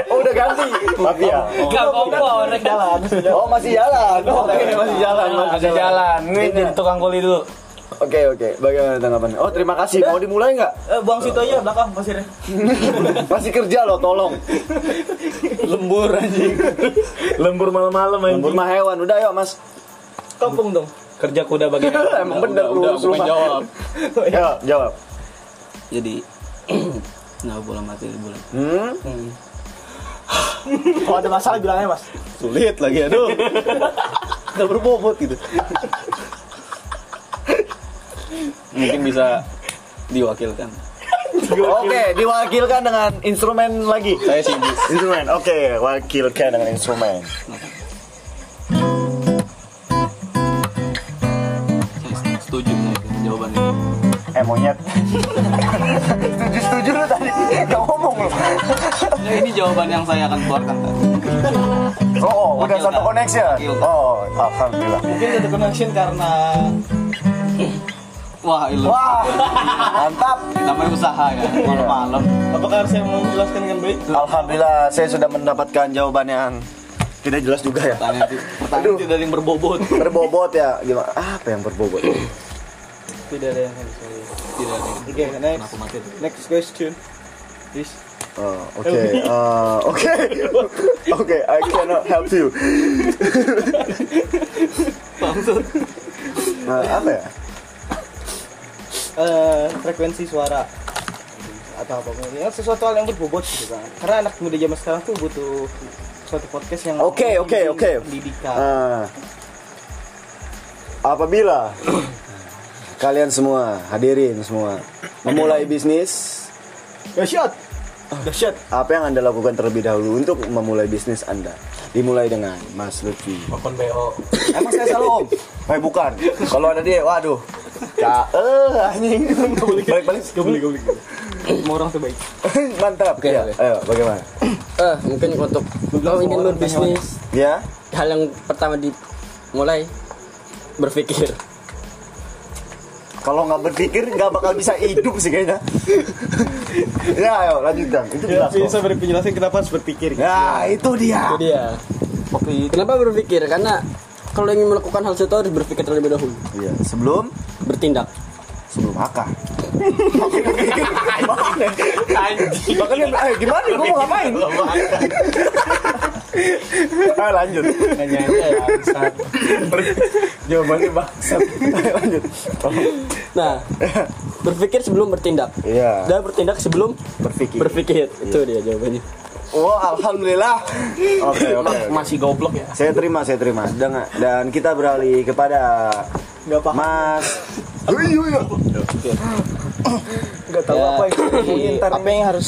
B: Oh, udah ganti. Maaf ya.
D: (laughs) Enggak apa-apa, orang jalan.
B: Oh, masih jalan. Oke, masih jalan, masih jalan.
D: Ini jadi tukang kuli dulu.
B: Oke, oke. Bagaimana tanggapannya? Oh, terima kasih. Mau dimulai nggak?
C: eh, buang situ aja belakang pasirnya
B: (laughs) Masih kerja loh, tolong.
E: Lembur anjing.
B: Lembur malam-malam Lembur mah hewan. Udah yuk, Mas.
C: kampung dong
E: Kerja kuda
B: (laughs)
E: bagian.
B: Emang bener lu
E: udah, udah,
B: harus
E: gua pengen
B: rumah.
E: jawab.
C: Iya.
B: Ayo, jawab.
E: Jadi (clears throat) Nah, bola mati bulan
B: Hmm?
C: kalau ada masalah bilangnya mas
E: sulit lagi aduh (laughs)
C: nggak berbobot
B: (laughs)
C: gitu
E: mungkin bisa diwakilkan
B: Oke, diwakilkan dengan instrumen lagi.
E: saya sibuk
B: Instrumen, oke, wakilkan dengan instrumen.
E: saya setuju dengan jawaban ini
B: Eh monyet. Setuju-setuju lu tadi, gak ngomong lu.
E: Ya, ini jawaban yang saya akan keluarkan tadi.
B: Oh, oh, udah
E: Wakilkan.
B: satu connection.
E: Wakilkan.
B: Oh, alhamdulillah.
C: mungkin ada connection karena
E: wah ilu
B: Wah, mantap.
E: namanya usaha kan malam-malam
C: apakah harus saya menjelaskan dengan baik
B: Alhamdulillah, saya sudah mendapatkan jawaban yang tidak jelas juga ya.
E: pertanyaan ti- pertanyaan tidak ada yang berbobot
B: Berbobot ya, gimana? Apa yang berbobot?
C: tidak ada yang harus saya
E: tidak ada yang
C: oke next
E: aku mati
C: next question please
B: Oh, oke, eh, oke, oke, I cannot help you. Eh, apa ya?
C: eh, frekuensi suara atau apa ya, sesuatu hal yang berbobot gitu kan karena anak muda zaman sekarang tuh butuh suatu podcast yang
B: Oke, oke,
C: mendidik-
B: oke.
C: pendidikan
B: Ah. apabila kalian semua hadirin semua memulai bisnis,
E: Eh,
C: dahsyat dahsyat
B: apa yang anda lakukan terlebih dahulu untuk memulai bisnis anda? dimulai dengan Mas Lutfi.
A: Makan BO.
B: Emang saya selalu om? Eh bukan. Kalau ada dia, waduh. Ya, eh anjing. Balik balik.
D: Mau orang terbaik.
B: (laughs) Mantap.
D: Oke,
B: ya.
D: oke.
B: Ayo, bagaimana?
D: Eh, mungkin untuk kalau ingin berbisnis,
B: Ya.
D: hal yang pertama dimulai berpikir.
B: Kalau nggak berpikir nggak bakal bisa hidup sih kayaknya. (laughs) ya, ayo lanjutkan. Itu jelas
C: Bisa
B: kok.
C: beri penjelasan kenapa harus berpikir.
B: Ya, itu dia.
D: Itu dia. Iya. Kenapa berpikir? Karena kalau ingin melakukan hal sesuatu harus berpikir terlebih dahulu,
B: Iya, sebelum
D: bertindak.
B: sebelum akah. Makanya, eh, gimana? Gue mau ngapain? Ayo lanjut. Jawabannya bangsat. Ayo lanjut.
C: (laughs)
D: Nah, berpikir sebelum bertindak.
B: Iya.
D: Dan bertindak sebelum
B: Berpikir.
D: berpikir. Itu dia jawabannya.
B: Oh, alhamdulillah. Oke, oke. oke.
A: Masih goblok ya.
B: Saya terima, saya terima. Dan, dan kita beralih kepada Mas.
C: Gak
D: Ya.
C: tahu apa yang Iya. apa yang harus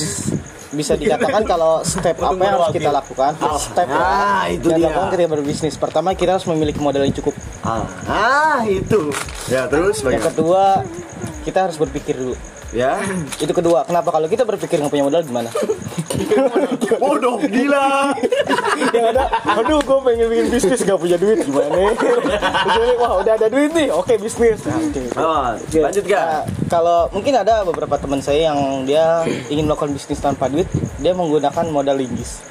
C: bisa dikatakan kalau step apa yang harus kita lakukan First step ya.
B: Ah, itu
C: yang
B: dia.
C: dilakukan ketika berbisnis pertama kita harus memiliki modal yang cukup
B: Ah, ah, itu. Ya, terus
C: yang
B: bagaimana?
C: kedua kita harus berpikir dulu
B: Ya.
C: itu kedua kenapa kalau kita berpikir nggak punya modal gimana
B: Bodoh, gila.
C: yang ada aduh gue pengen bikin bisnis gak punya duit gimana Jadi, wah udah ada duit nih oke bisnis Nah, oke.
B: Oh, lanjut
C: Nah,
B: gak?
C: kalau mungkin ada beberapa teman saya yang dia ingin melakukan bisnis tanpa duit, dia menggunakan modal linggis.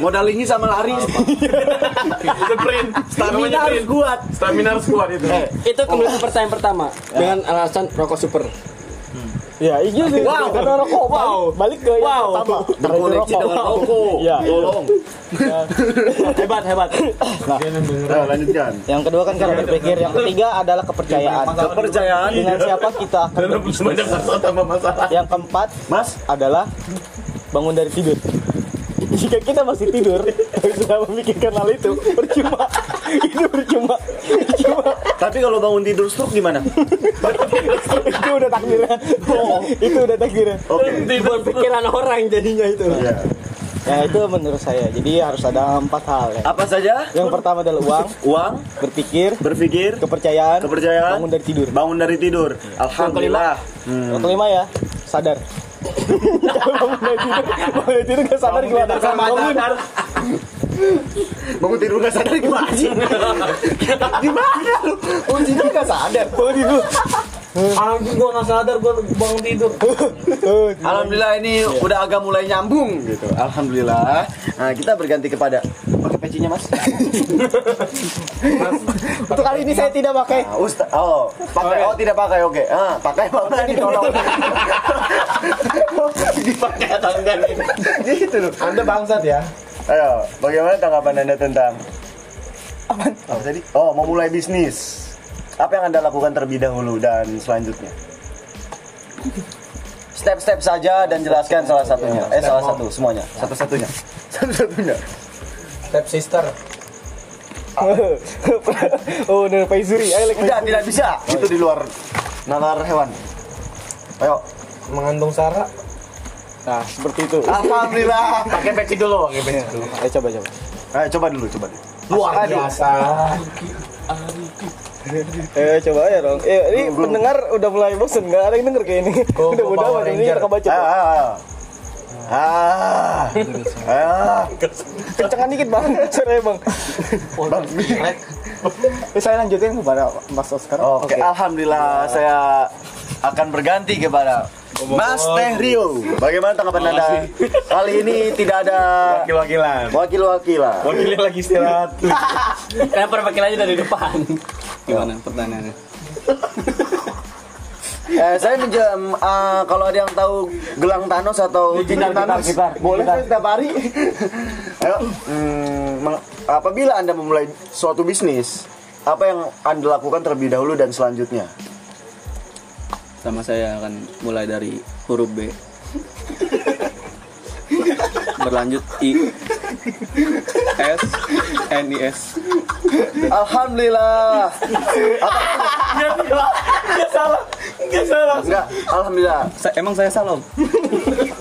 B: Modal ini sama (laughs) lari.
E: Sprint.
B: Stamina
E: Namanya
B: harus
E: sprint.
B: kuat.
E: Stamina harus kuat itu.
D: Itu kemudian pertanyaan pertama Ya. dengan alasan rokok super.
C: Ya, iya sih.
B: Wow.
C: Karena rokok. Wow. Balik ke yang
D: Wow.
C: pertama.
B: Terkoneksi dengan Roko.
C: Iya.
B: Tolong.
D: Hebat, hebat.
B: Nah, lanjutkan.
C: Yang kedua kan karena berpikir, yang ketiga adalah kepercayaan.
B: Kepercayaan
C: Dengan siapa kita akan berbisnis.
E: Banyak masalah tambah masalah.
C: Yang keempat
B: Mas,
C: adalah bangun dari tidur. Jika kita masih tidur dan sudah memikirkan hal itu, percuma. Itu percuma. Percuma.
B: tapi kalau bangun tidur stroke gimana?
C: itu udah takdirnya. itu udah takdirnya.
B: Oke.
D: Buat pikiran orang jadinya itu.
B: Ya.
C: Ya itu menurut saya. Jadi harus ada empat hal. ya.
B: Apa saja?
C: Yang pertama adalah uang,
B: Uang,
C: berpikir,
B: berpikir,
C: kepercayaan,
B: Kepercayaan.
C: bangun dari tidur.
B: bangun dari tidur. Alhamdulillah.
C: Yang kelima ya, sadar. bangun dari tidur, bangun dari tidur gak sadar gimana? Bangun.
B: Bangun tidur gak sadar gimana sih? gimana lu? Bangun tidur gak sadar. Bangun tidur.
D: Anjing gua enggak sadar gua bangun tidur.
B: Alhamdulillah ini udah agak mulai nyambung gitu. Alhamdulillah. Nah, kita berganti kepada pakai pecinya Mas.
C: Untuk kali ini saya tidak pakai.
B: Nah, Ustaz, oh, pakai oh tidak pakai oke. Ah, pakai mana nih (laughs) tolong.
E: Dipakai atau enggak nih?
B: gitu loh.
C: Anda bangsat ya.
B: Ayo, bagaimana tanggapan Anda tentang Apa tadi? Oh, memulai bisnis. Apa yang Anda lakukan terlebih dahulu dan selanjutnya? Step-step saja dan jelaskan salah satunya. Eh, salah satu semuanya. Satu-satunya. Satu-satunya.
D: Step sister.
C: (laughs) oh, dari Paizuri. Ayo, like
B: Tidak, tidak bisa. Ya, Itu Oh, iya. di luar nalar hewan. Ayo.
D: Mengandung Sarah.
C: Nah, seperti itu.
B: Alhamdulillah.
E: Pakai peci dulu, pakai peci dulu.
C: Ayo coba coba.
B: Ayo coba dulu, coba dulu. Wah, aduh.
C: Eh, coba ya, Rong. Eh, ini pendengar udah mulai bosen, nggak ada yang denger kayak ini. (laughs) udah udah
E: Power
C: ini
E: Ranger.
C: rekam baca.
B: Ayo, ayo, ayo. Ah, ah,
C: Kencengan dikit, Bang. (laughs) Sore, Bang.
B: Bang.
C: Eh, saya lanjutin kepada Mas Oscar.
B: Oh, Oke, Iya. alhamdulillah saya akan berganti kepada Mas Teh Rio. Bagaimana tanggapan Anda? Kali ini tidak ada
E: Wakil-wakilan.
B: wakil-wakilan.
E: Wakilnya lagi istirahat.
D: (laughs) Kenapa perwakilannya dari depan?
F: Gimana pertanyaannya?
B: Eh, saya minjem eh, kalau ada yang tahu gelang Thanos atau cincin Thanos, boleh saya setiap hari. (laughs) Ayo, hmm, meng- apabila Anda memulai suatu bisnis, apa yang Anda lakukan terlebih dahulu dan selanjutnya?
F: Sama saya akan mulai dari huruf B. Berlanjut I S N I S
B: (laughs) Alhamdulillah. iya. Apa? Enggak salah. Enggak salah. Enggak, alhamdulillah.
F: Sa- emang saya salah Om?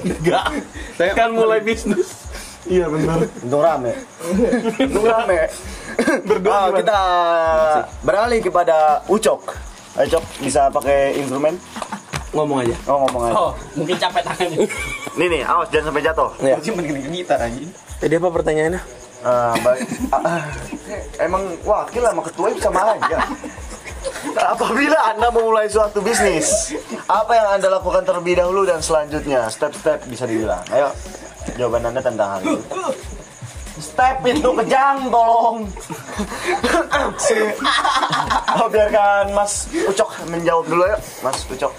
E: Enggak.
F: saya
E: Kan mulai bisnis.
G: Iya benar.
B: Untung rame. Untung rame. Ah, kita beralih kepada Ucok. Ucok bisa pakai instrumen?
H: Ngomong aja.
B: Oh ngomong aja.
D: (laughs) Oh, mungkin capek (laughs) tangannya.
B: Nih nih, awas jangan sampai jatuh.
C: Jadi apa pertanyaannya?
B: Ah, baik. Ah, ah. emang wakil sama ketua itu sama aja. Apabila Anda memulai suatu bisnis, apa yang Anda lakukan terlebih dahulu dan selanjutnya? Step-step bisa dibilang. Ayo, jawaban Anda tentang hal itu. Step itu kejang, (laughs) tolong. Oh, biarkan Mas Ucok menjawab dulu ya, Mas Ucok.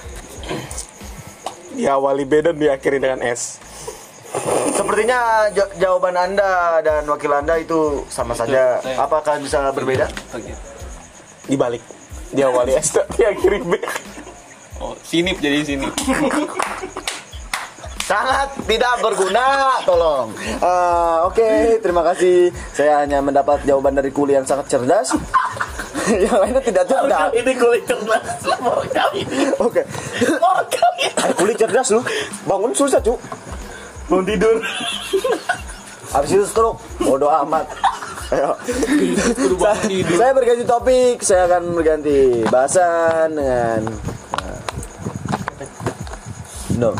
C: Diawali B dan diakhiri dengan S.
B: Sepertinya ja- jawaban Anda dan wakil Anda itu sama saja. Apakah bisa berbeda?
C: Dibalik. Diawali S dan diakhiri B.
E: Oh, sinip jadi sinip.
B: (laughs) Sangat tidak berguna, tolong.
G: Eh, Oke, terima kasih. Saya hanya mendapat jawaban dari kuli yang sangat cerdas. (laughs) yang lainnya tidak cerdas.
D: Ini kulit cerdas mau kami.
G: Oke.
D: Mau kami.
G: Eh, Kuli cerdas lu. Bangun susah, Cuk.
B: Belum tidur.
G: Habis itu stroke. Bodoh amat.
D: (laughs)
G: Ayo. saya, saya berganti topik. Saya akan berganti bahasan dengan eh, No.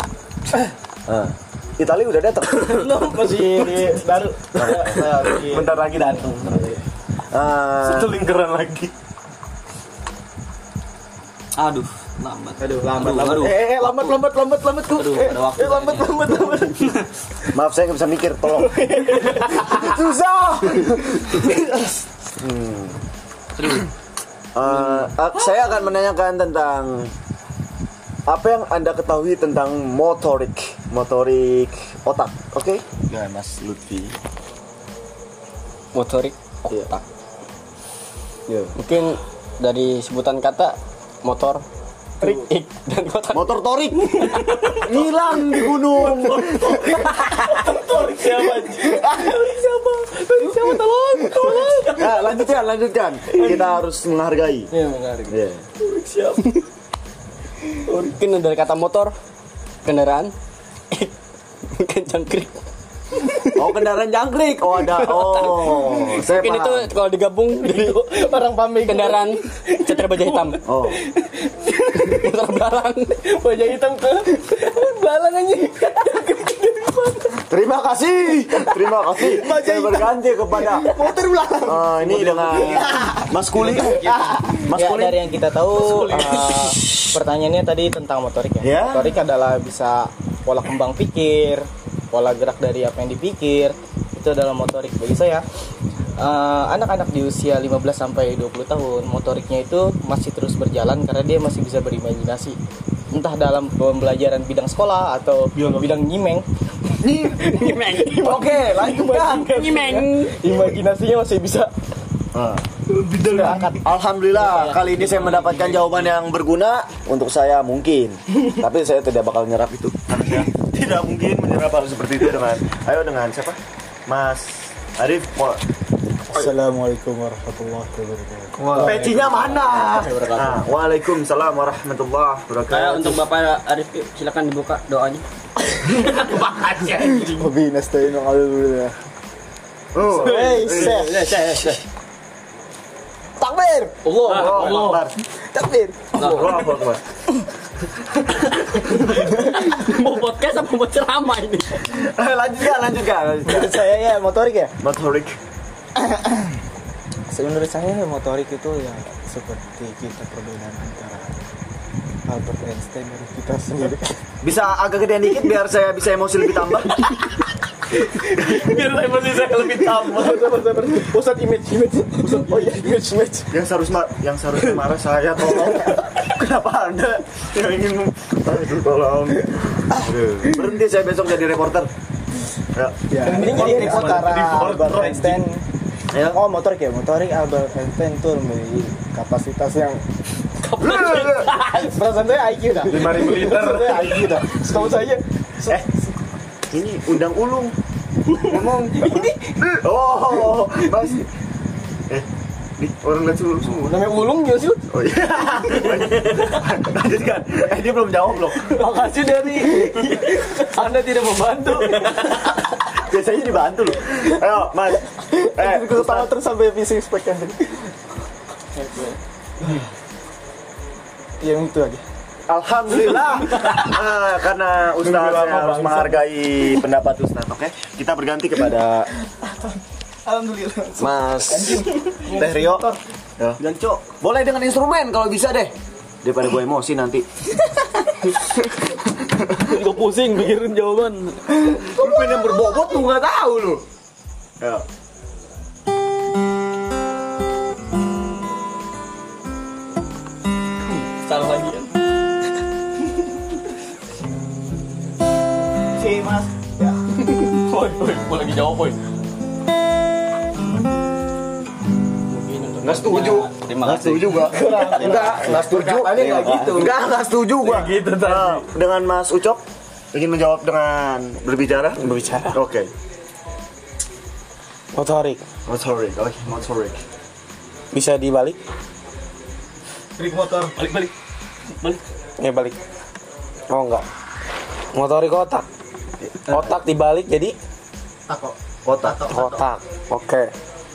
G: Eh, Itali udah
I: (coughs)
G: datang.
I: masih di baru. Bentar lagi datang.
G: Eh,
C: Itu lingkaran lagi.
H: Aduh, lambat.
I: Aduh, lambat, lambat.
H: aduh.
I: Eh, eh, lambat, lambat, lambat, lambat tuh.
H: Aduh,
I: Eh,
H: ada waktu
I: eh, lambat, lambat, lambat.
G: maaf saya nggak bisa mikir, tolong. susah. Hmm. Eh, ak- saya akan menanyakan tentang apa yang anda ketahui tentang motorik, motorik otak, oke?
B: Nah, Mas Lutfi.
C: Oh,
D: Motorik
G: Iya.
D: otak.
G: Iya.
D: Mungkin dari sebutan kata motor trik ik dan kotak
G: Motor torik (laughs) hilang di gunung. torik siapa? Torik siapa? Torik siapa? Tolong, tolong. Nah, lanjutkan, lanjutkan. Kita harus menghargai.
D: Iya, menarik.
G: Iya.
D: Mungkin dari kata motor
J: (laughs)
D: kendaraan ik mungkin cangkrik.
G: Oh kendaraan jangkrik. Oh ada. Oh saya
D: Mungkin
G: paham.
D: itu kalau digabung jadi
I: Orang pamit.
D: kendaraan cetar baja hitam.
G: Oh
D: Motor belarang.
I: Wajah hitam ke balang anjing.
G: terima kasih, terima kasih. Saya berganti kepada
I: Motor belalang.
G: eh, ini dengan Mas Kuli. Mas
C: Ya,
G: Kuli.
D: Iya,
C: dari yang kita tahu eh, pertanyaannya tadi tentang motorik ya.
G: Ya.
C: Motorik adalah bisa pola kembang pikir, pola gerak dari apa yang dipikir. Itu adalah motorik bagi saya. eh, anak-anak di usia 15 sampai 20 tahun, motoriknya itu masih terus berjalan karena dia masih bisa berimajinasi. Entah dalam pembelajaran bidang sekolah atau bidang nyimeng,
D: Nyimeng.
G: Oke lanjutkan.
D: Nyimeng.
C: imajinasinya masih bisa
G: Ah. Angkat.
D: Iya,
G: Alhamdulillah kali ini saya mendapatkan jawaban yang berguna untuk saya
D: (laughs)
G: mungkin. Tapi saya tidak bakal nyerap itu.
B: Ya, tidak mungkin menyerap hal seperti itu dengan ayo dengan siapa Mas Arif Mo-
K: Assalamualaikum warahmatullahi wabarakatuh.
G: Pecinya mana? Ah,
B: nah, Waalaikumsalam warahmatullahi
D: Saya
B: wabarakatuh
D: untuk Bapak Arif silakan dibuka doanya. Makasih.
K: Wabi nasta'in wa a'udzu billah.
B: Oh,
I: Hei, set. Takbir.
D: Allah. Nah.
B: oh, Akbar.
I: Takbir.
B: Oh, Akbar,
D: (laughs)
B: Akbar.
D: Mau podcast apa mau ceramah ini?
G: Eh,
D: ya,
G: Lanjutkan, lanjutkan. lanjutkan.
C: menurut saya ya motorik ya
B: Motorik
C: menurut saya ya, motorik itu ya seperti kita perbedaan antara Albert Einstein dan kita
I: (laughs)
C: sendiri
G: Bisa agak gedean dikit biar saya bisa emosi lebih tambah.
D: Biar emosi saya lebih tambah.
I: Pusat image, image. Pusat oh iya, image, image.
B: yang seharusnya yang seharusnya marah saya tolong. Kenapa Anda yang ingin mem- Aduh, tolong. Aduh.
G: Berhenti saya besok jadi reporter.
B: Ya,
C: ya ini jadi antara Albert Einstein oh motorik ya motorik Albert Einstein itu memiliki kapasitas yang
I: Perasaan saya IQ dah.
B: 5000 liter.
I: Perasaan saya IQ dah. Setahu saya
B: Eh, ini undang ulung. Ngomong. Ini. Oh, Mas. Eh, nih orang lihat ulung semua.
I: namanya ulung ya sih.
B: Oh iya. Lanjutkan. Eh dia
J: (laughs)
B: belum jawab loh.
I: Makasih dari Anda tidak membantu.
B: Biasanya dibantu loh. Ayo, Mas. Eh,
J: Gue ketawa terus sampai habis six pack kan tadi. Yang Iya, itu aja.
B: Alhamdulillah. Ah, karena Ustaz saya harus menghargai pendapat Ustaz, oke? Kita berganti kepada Alhamdulillah. Mas Teh Rio. Ya. Dan Cok, boleh dengan instrumen kalau bisa deh. Daripada gue emosi nanti.
E: Gue pusing mikirin jawaban.
B: Instrumen yang berbobot tuh nggak tahu lu. Ya.
E: Salah lagi.
J: Si Mas. Ya.
E: Woi, woi, gue lagi jawab, woi.
B: Nggak setuju.
F: Terima
B: Nggak
F: kasih.
B: setuju gua. Enggak, nggak setuju.
J: Katanya nggak gitu.
B: Enggak, nggak setuju gua.
E: Gitu tadi.
B: Nah, dengan Mas Ucok ingin menjawab dengan berbicara?
J: Berbicara.
B: Oke.
J: Motorik
B: Motorik, oke, motorik.
J: bisa dibalik?
C: Trik motor.
A: Balik balik.
J: Ya balik. Oh enggak. Motorik otak. Otak dibalik jadi
C: Tako.
B: Kota,
J: kotak. Oke.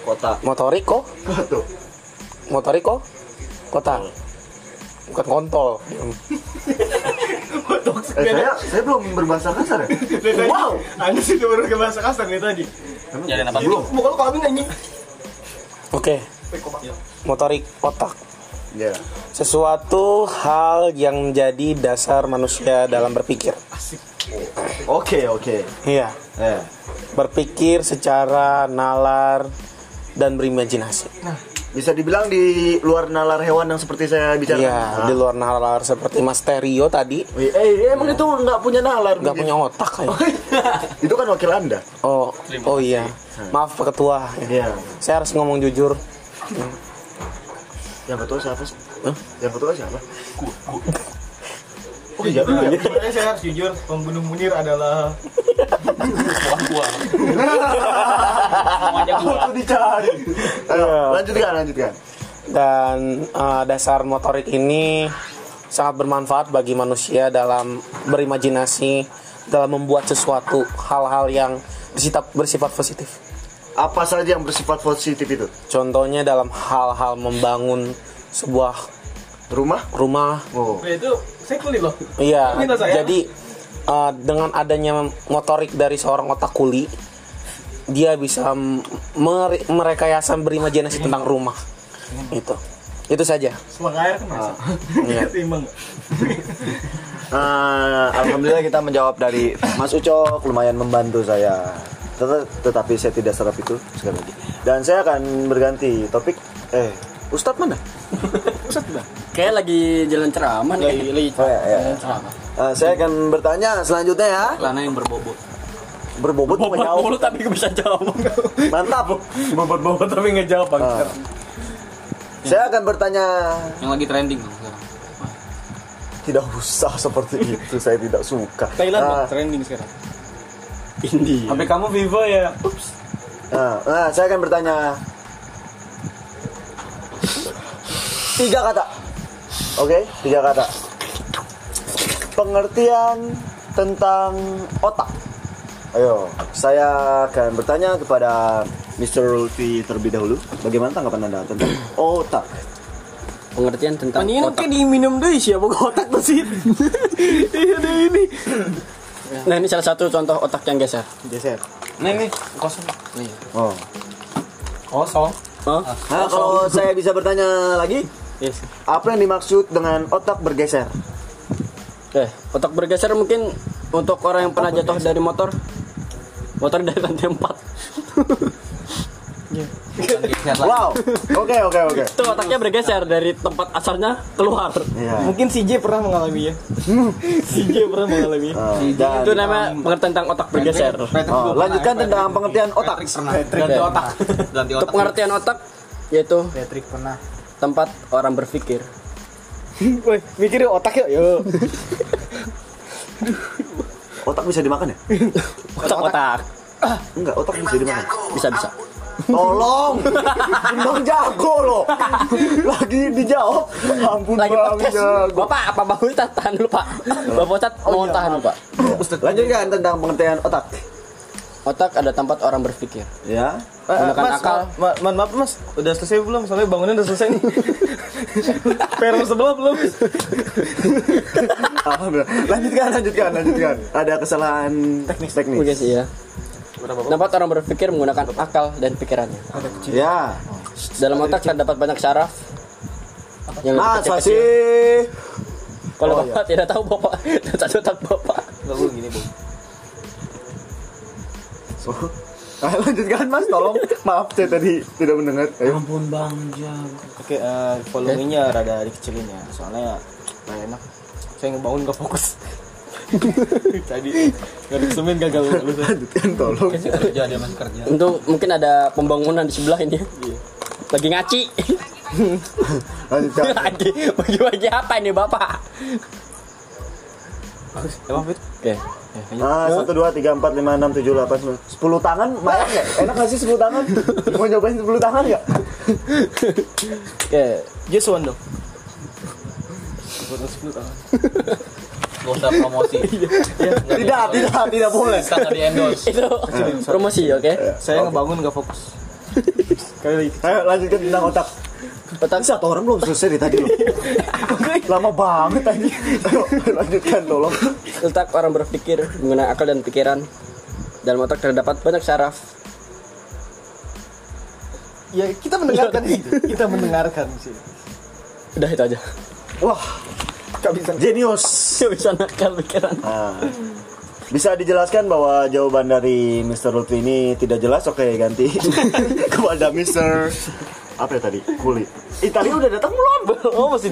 B: kota,
J: Motorik kok?
B: kota.
J: Motorik kok? Kotak. Bukan kontol.
B: Eh, saya, saya belum berbahasa kasar ya? wow!
C: Anda sih udah baru ke bahasa kasar nih tadi.
F: Nyariin apa dulu?
B: Belum.
C: Muka lu kami nyanyi.
J: Oke. Motorik otak.
B: Ya.
J: sesuatu hal yang menjadi dasar manusia dalam berpikir.
B: Oke, oke.
J: Iya,
B: Eh,
J: berpikir secara nalar dan berimajinasi.
B: Bisa dibilang di luar nalar hewan yang seperti saya bicara. Ah.
J: Iya, di luar nalar seperti Mas Terio tadi
B: Eh, emang itu nggak punya nalar.
J: nggak punya otak kayak.
B: itu kan wakil Anda.
J: Oh, oh iya. Maaf Pak Ketua.
B: Iya.
J: Saya harus ngomong jujur.
B: Yang ketua siapa sih? Yang ketua siapa? Gua. Oh iya, iya.
C: Sebenarnya saya harus jujur, pembunuh Munir adalah
B: Aku dicari. Ayo, lanjutkan, lanjutkan.
J: Dan eh, dasar motorik ini sangat bermanfaat bagi manusia dalam berimajinasi, dalam membuat sesuatu hal-hal yang bersifat bersifat positif.
B: Apa saja yang bersifat positif itu?
J: Contohnya dalam hal-hal membangun sebuah
B: Rumah?
J: rumah.
B: Oh.
C: Ya itu saya kulit loh.
J: Iya.
E: gitu,
C: Minta
E: ya?
C: saya.
J: Jadi eh, dengan adanya motorik dari seorang otak kuli, dia bisa m- mere- merekayasa berimajinasi tentang rumah. Itu. Itu saja.
C: Selang air kan
E: Ah.
C: masa.
J: Iya.
C: (laughs) Timbang.
B: Eh, Alhamdulillah kita menjawab dari Mas Ucok lumayan membantu saya. Tet- Tetapi saya tidak serap itu sekali lagi. Dan saya akan berganti topik. Eh, Ustadz mana?
D: Kayak lagi jalan ceramah nih. Lagi
B: Oh, ya, ya.
D: jalan ceramah.
B: Eh, saya akan bertanya selanjutnya ya.
D: Celana yang berbobot.
B: Berbobot
D: Bobot
B: menjawab.
D: mulu tapi gak bisa jawab.
B: Mantap.
E: Bapak tapi ngejawab, Bang.
F: Ah.
B: Eh, saya akan bertanya.
D: yang lagi trending tuh sekarang.
B: Tidak usah
E: (laughs)
B: seperti itu. Saya tidak suka.
E: Thailand, Bang,
B: Eh,
E: trending sekarang.
D: India.
E: Sampai kamu Vivo ya.
B: Nah, nah, saya akan bertanya tiga kata. Oke, tiga kata. Pengertian tentang otak. Ayo, saya akan bertanya kepada Mr. Lutfi terlebih dahulu. Bagaimana tanggapan Anda
E: (clears throat)
B: tentang otak?
D: Pengertian tentang
E: Mendingan
D: otak.
E: kayak diminum deh siapa kotak tuh
D: (laughs)
E: sih. ya, Iya deh ini.
D: Nah ini salah satu contoh otak yang geser.
B: Geser.
E: Nih nih kosong.
D: Nih.
B: Oh.
E: Kosong.
D: Hah?
B: Nah, kalau saya bisa bertanya lagi,
D: Yes.
B: apa yang dimaksud dengan otak bergeser?
D: Oke, otak bergeser mungkin untuk orang yang pernah jatuh dari motor. Motor dari lantai 4.
B: Wow. Oke, oke, oke.
D: Itu otaknya bergeser dari tempat asalnya keluar.
B: Iya.
E: Mungkin si J pernah
L: (laughs)
E: mengalami ya. si J pernah mengalami.
B: Eh, dan-
D: Itu namanya pengertian tentang otak bergeser.
B: Oh, lanjutkan tentang pengertian otak.
E: Ganti otak.
F: Ganti
D: Untuk
F: otak.
D: pengertian otak yaitu
C: Patrick pernah.
D: tempat orang berpikir.
E: Woi, mikirin otak yuk. Yuk.
B: Otak bisa dimakan ya?
D: Otak-otak.
B: Enggak, otak bisa dimakan.
D: Bisa bisa.
B: Tolong, bang jago loh. Lagi dijawab. Ampun
D: Lagi
B: bang
D: podcast.
B: jago.
D: Bapak apa Bang Ustaz tahan dulu Pak. Bapak Ustaz mohon tahan Pak.
B: Lanjutkan tentang pengertian otak.
D: otak ada tempat orang berpikir.
B: ya
D: Gunakan
M: Eh, mas,
D: akal.
M: Ma ma- mohon maaf mas, udah selesai belum? Soalnya bangunan udah selesai
E: (laughs)
M: nih. Peron sebelah belum?
B: Alhamdulillah. lanjutkan lanjutkan lanjutkan ada kesalahan teknis teknis
D: Mungkin sih ya. Tempat orang berpikir menggunakan akal dan pikirannya.
B: ya
D: Dalam otak terdapat banyak saraf. Yang lebih
B: nah
D: kecil-kecil.
B: sih
D: Kalau bapak tidak tahu bapak, (laughs) cacat otak bapak.
B: Oh. Ayo lanjutkan mas tolong maaf saya tadi tidak mendengar ayo
M: Oke, eh, volumenya rada dikecilin ya. Soalnya nggak enak. Saya ngebangun nggak
L: (laughs)
M: fokus. Tadi nggak dikesemin gagal lu.
B: lanjutkan tolong
L: kerja dia masih
C: Ya.
L: kerja
D: Untuk mungkin ada pembangunan di sebelah ini. Lagi ngaci.
B: lanjutkan
D: (laughs) Lagi bagi-bagi apa ini bapak? Oke.
B: Ah, satu dua tiga empat lima enam tujuh delapan sembilan sepuluh tangan banyak ya enak nggak sih sepuluh tangan mau nyobain sepuluh tangan ya? nggak
D: Oke.
M: Just one dong.
L: gak usah promosi
B: tidak tidak tidak boleh
L: kagak di endorse
D: Itu promosi oke.
M: Saya ngebangun nggak fokus. Sekali lagi.
B: ayo lanjutkan tentang otak otak satu orang belum selesai dari tadi loh lama banget tadi ayo ayo lanjutkan tolong
D: Letak orang berpikir menggunakan akal dan pikiran. Dalam otak terdapat banyak saraf.
M: Ya kita mendengarkan itu. Kita mendengarkan sih.
D: Udah itu aja. (laughs)
B: wah jenius
D: Gak bisa nakal pikiran.
B: Nah, bisa dijelaskan bahwa jawaban dari Mr. Lutfi ini tidak jelas, oke (laughs) ganti kepada Mr. apa ya tadi? Kuli. Ih, tadi udah datang belum?
M: Oh masih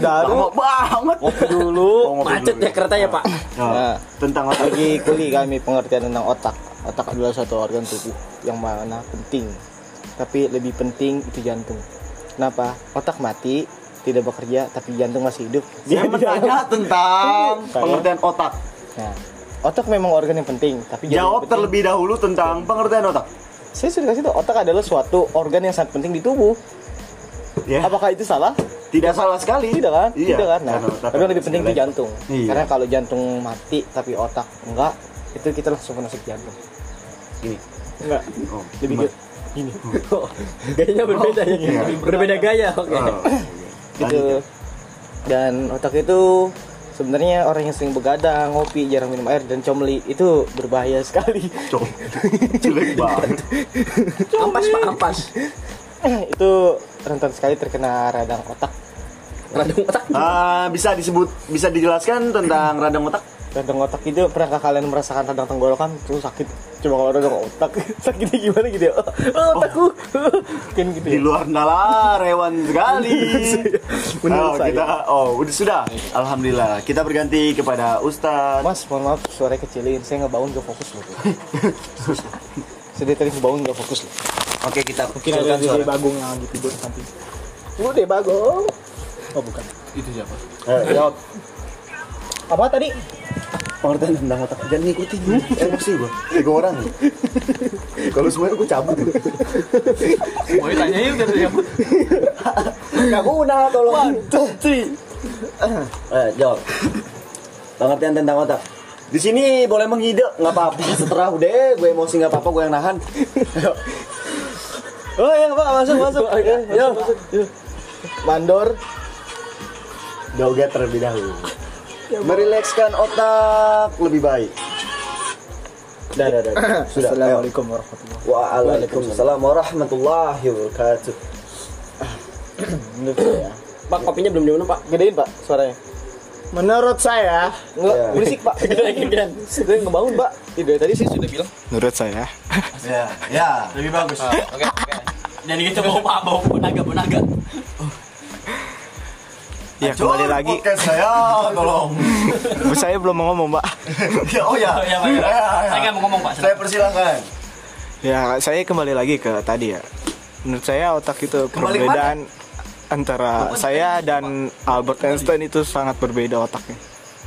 M: daru.
B: Lama banget.
M: Ngopi dulu.
B: Mau ngopi
D: Macet
B: dulu.
D: ya keretanya pak.
B: Nah, tentang (laughs) otak.
C: Bagi kuli kami pengertian tentang otak. Otak adalah suatu organ tubuh yang mana penting. Tapi lebih penting itu jantung. Kenapa? Otak mati, tidak bekerja, tapi jantung masih hidup.
B: Dia bertanya tentang pengertian otak.
C: Nah, otak memang organ yang penting, tapi jantung
B: Jawab
C: penting.
B: terlebih dahulu tentang pengertian otak.
C: Saya sudah kasih tahu, otak adalah suatu organ yang sangat penting di tubuh.
B: Ya,
C: Apakah itu salah?
B: tidak salah sekali.
C: Tidak kan?
B: Iya.
C: Tidak kan? Nah,
B: Karena otak
C: tapi yang lebih penting itu
B: segala-
C: jantung.
B: Iya.
C: Karena kalau jantung mati tapi otak enggak, itu kita langsung kena sakit jantung.
B: Gini.
C: Enggak.
B: Oh,
C: Lebih
B: cuman-
C: ke- gitu. gini.
D: Gayanya berbeda ya. Berbeda gaya oke.
B: (laughs)
C: gitu.
B: Oh, lanjut. ya.
C: Dan otak itu sebenarnya orang yang sering begadang, ngopi, jarang minum air dan comli itu berbahaya sekali. (laughs)
B: (laughs) Cok, jelek banget.
D: Ampas pak ampas.
C: itu rentan sekali terkena radang otak.
D: Radang otak.
B: Ah, bisa disebut, bisa dijelaskan tentang (laughs) radang otak?
C: Radang otak itu pernahkah gitu, kalian merasakan radang tenggorokan terus sakit? Coba kalau radang otak (laughs) sakitnya gimana gitu ya? Oh, otakku. (laughs) Mungkin gitu
B: di
C: ya.
B: luar nalar hewan (laughs) sekali.
C: Menurut
B: oh,
C: saya.
B: kita oh udah sudah. Alhamdulillah. Kita berganti kepada Ustadz.
C: Mas, mohon maaf suara kecilin. Saya ngebangun gak fokus loh. tuh. Sedih tadi ngebangun gak fokus loh. Kan
B: Oke, kita kecilkan suara.
M: Bagung yang lagi tidur nanti.
C: Udah bagong.
B: Eh, jawab.
C: Apa tadi?
B: Pengertian tentang otak. Jangan ngikutin. Emosi gua. Tiga (laughs) orang. Kalau semuanya gua cabut.
L: mau ditanyain udah tuh yang
B: Enggak guna tolong. Eh, jawab. Pengertian tentang otak. Di sini boleh mengide, nggak apa-apa. Seterah udah, gue emosi nggak apa-apa, gue yang nahan. iya, Ayo.
C: Oh ya, Pak, masuk, masuk. Ya, ya. Mandor,
B: Doget terlebih dahulu. Merilekskan otak lebih baik. Dah, dah, dah. Sudah. Assalamualaikum warahmatullahi wabarakatuh. Waalaikumsalam warahmatullahi wabarakatuh.
C: menurut saya.
D: Pak kopinya belum diminum pak.
C: Gedein, Pak, suaranya.
M: Menurut saya,
C: Enggak,
B: Ya.
C: berisik, Pak.
D: (laughs) Gedein.
C: Saya ngebangun, Pak. Ih, dari tadi sih sudah bilang.
E: Menurut saya. (laughs)
B: Ya, ya.
L: lebih bagus oke oke.
D: Jadi kita bawa pak bawa punaga punaga.
E: Ya kembali lagi.
B: Podcast saya tolong. (laughs)
E: Saya belum mau ngomong, Pak.
B: ya, oh ya.
D: Oh, ya, Pak,
B: Ya,
D: ya.
B: ya, ya.
D: Saya nggak mau ngomong pak.
B: Saya persilahkan.
E: Ya, saya kembali lagi ke tadi ya. Menurut saya otak itu
B: Kembali
E: perbedaan antara saya dan Albert Einstein itu sangat berbeda otaknya.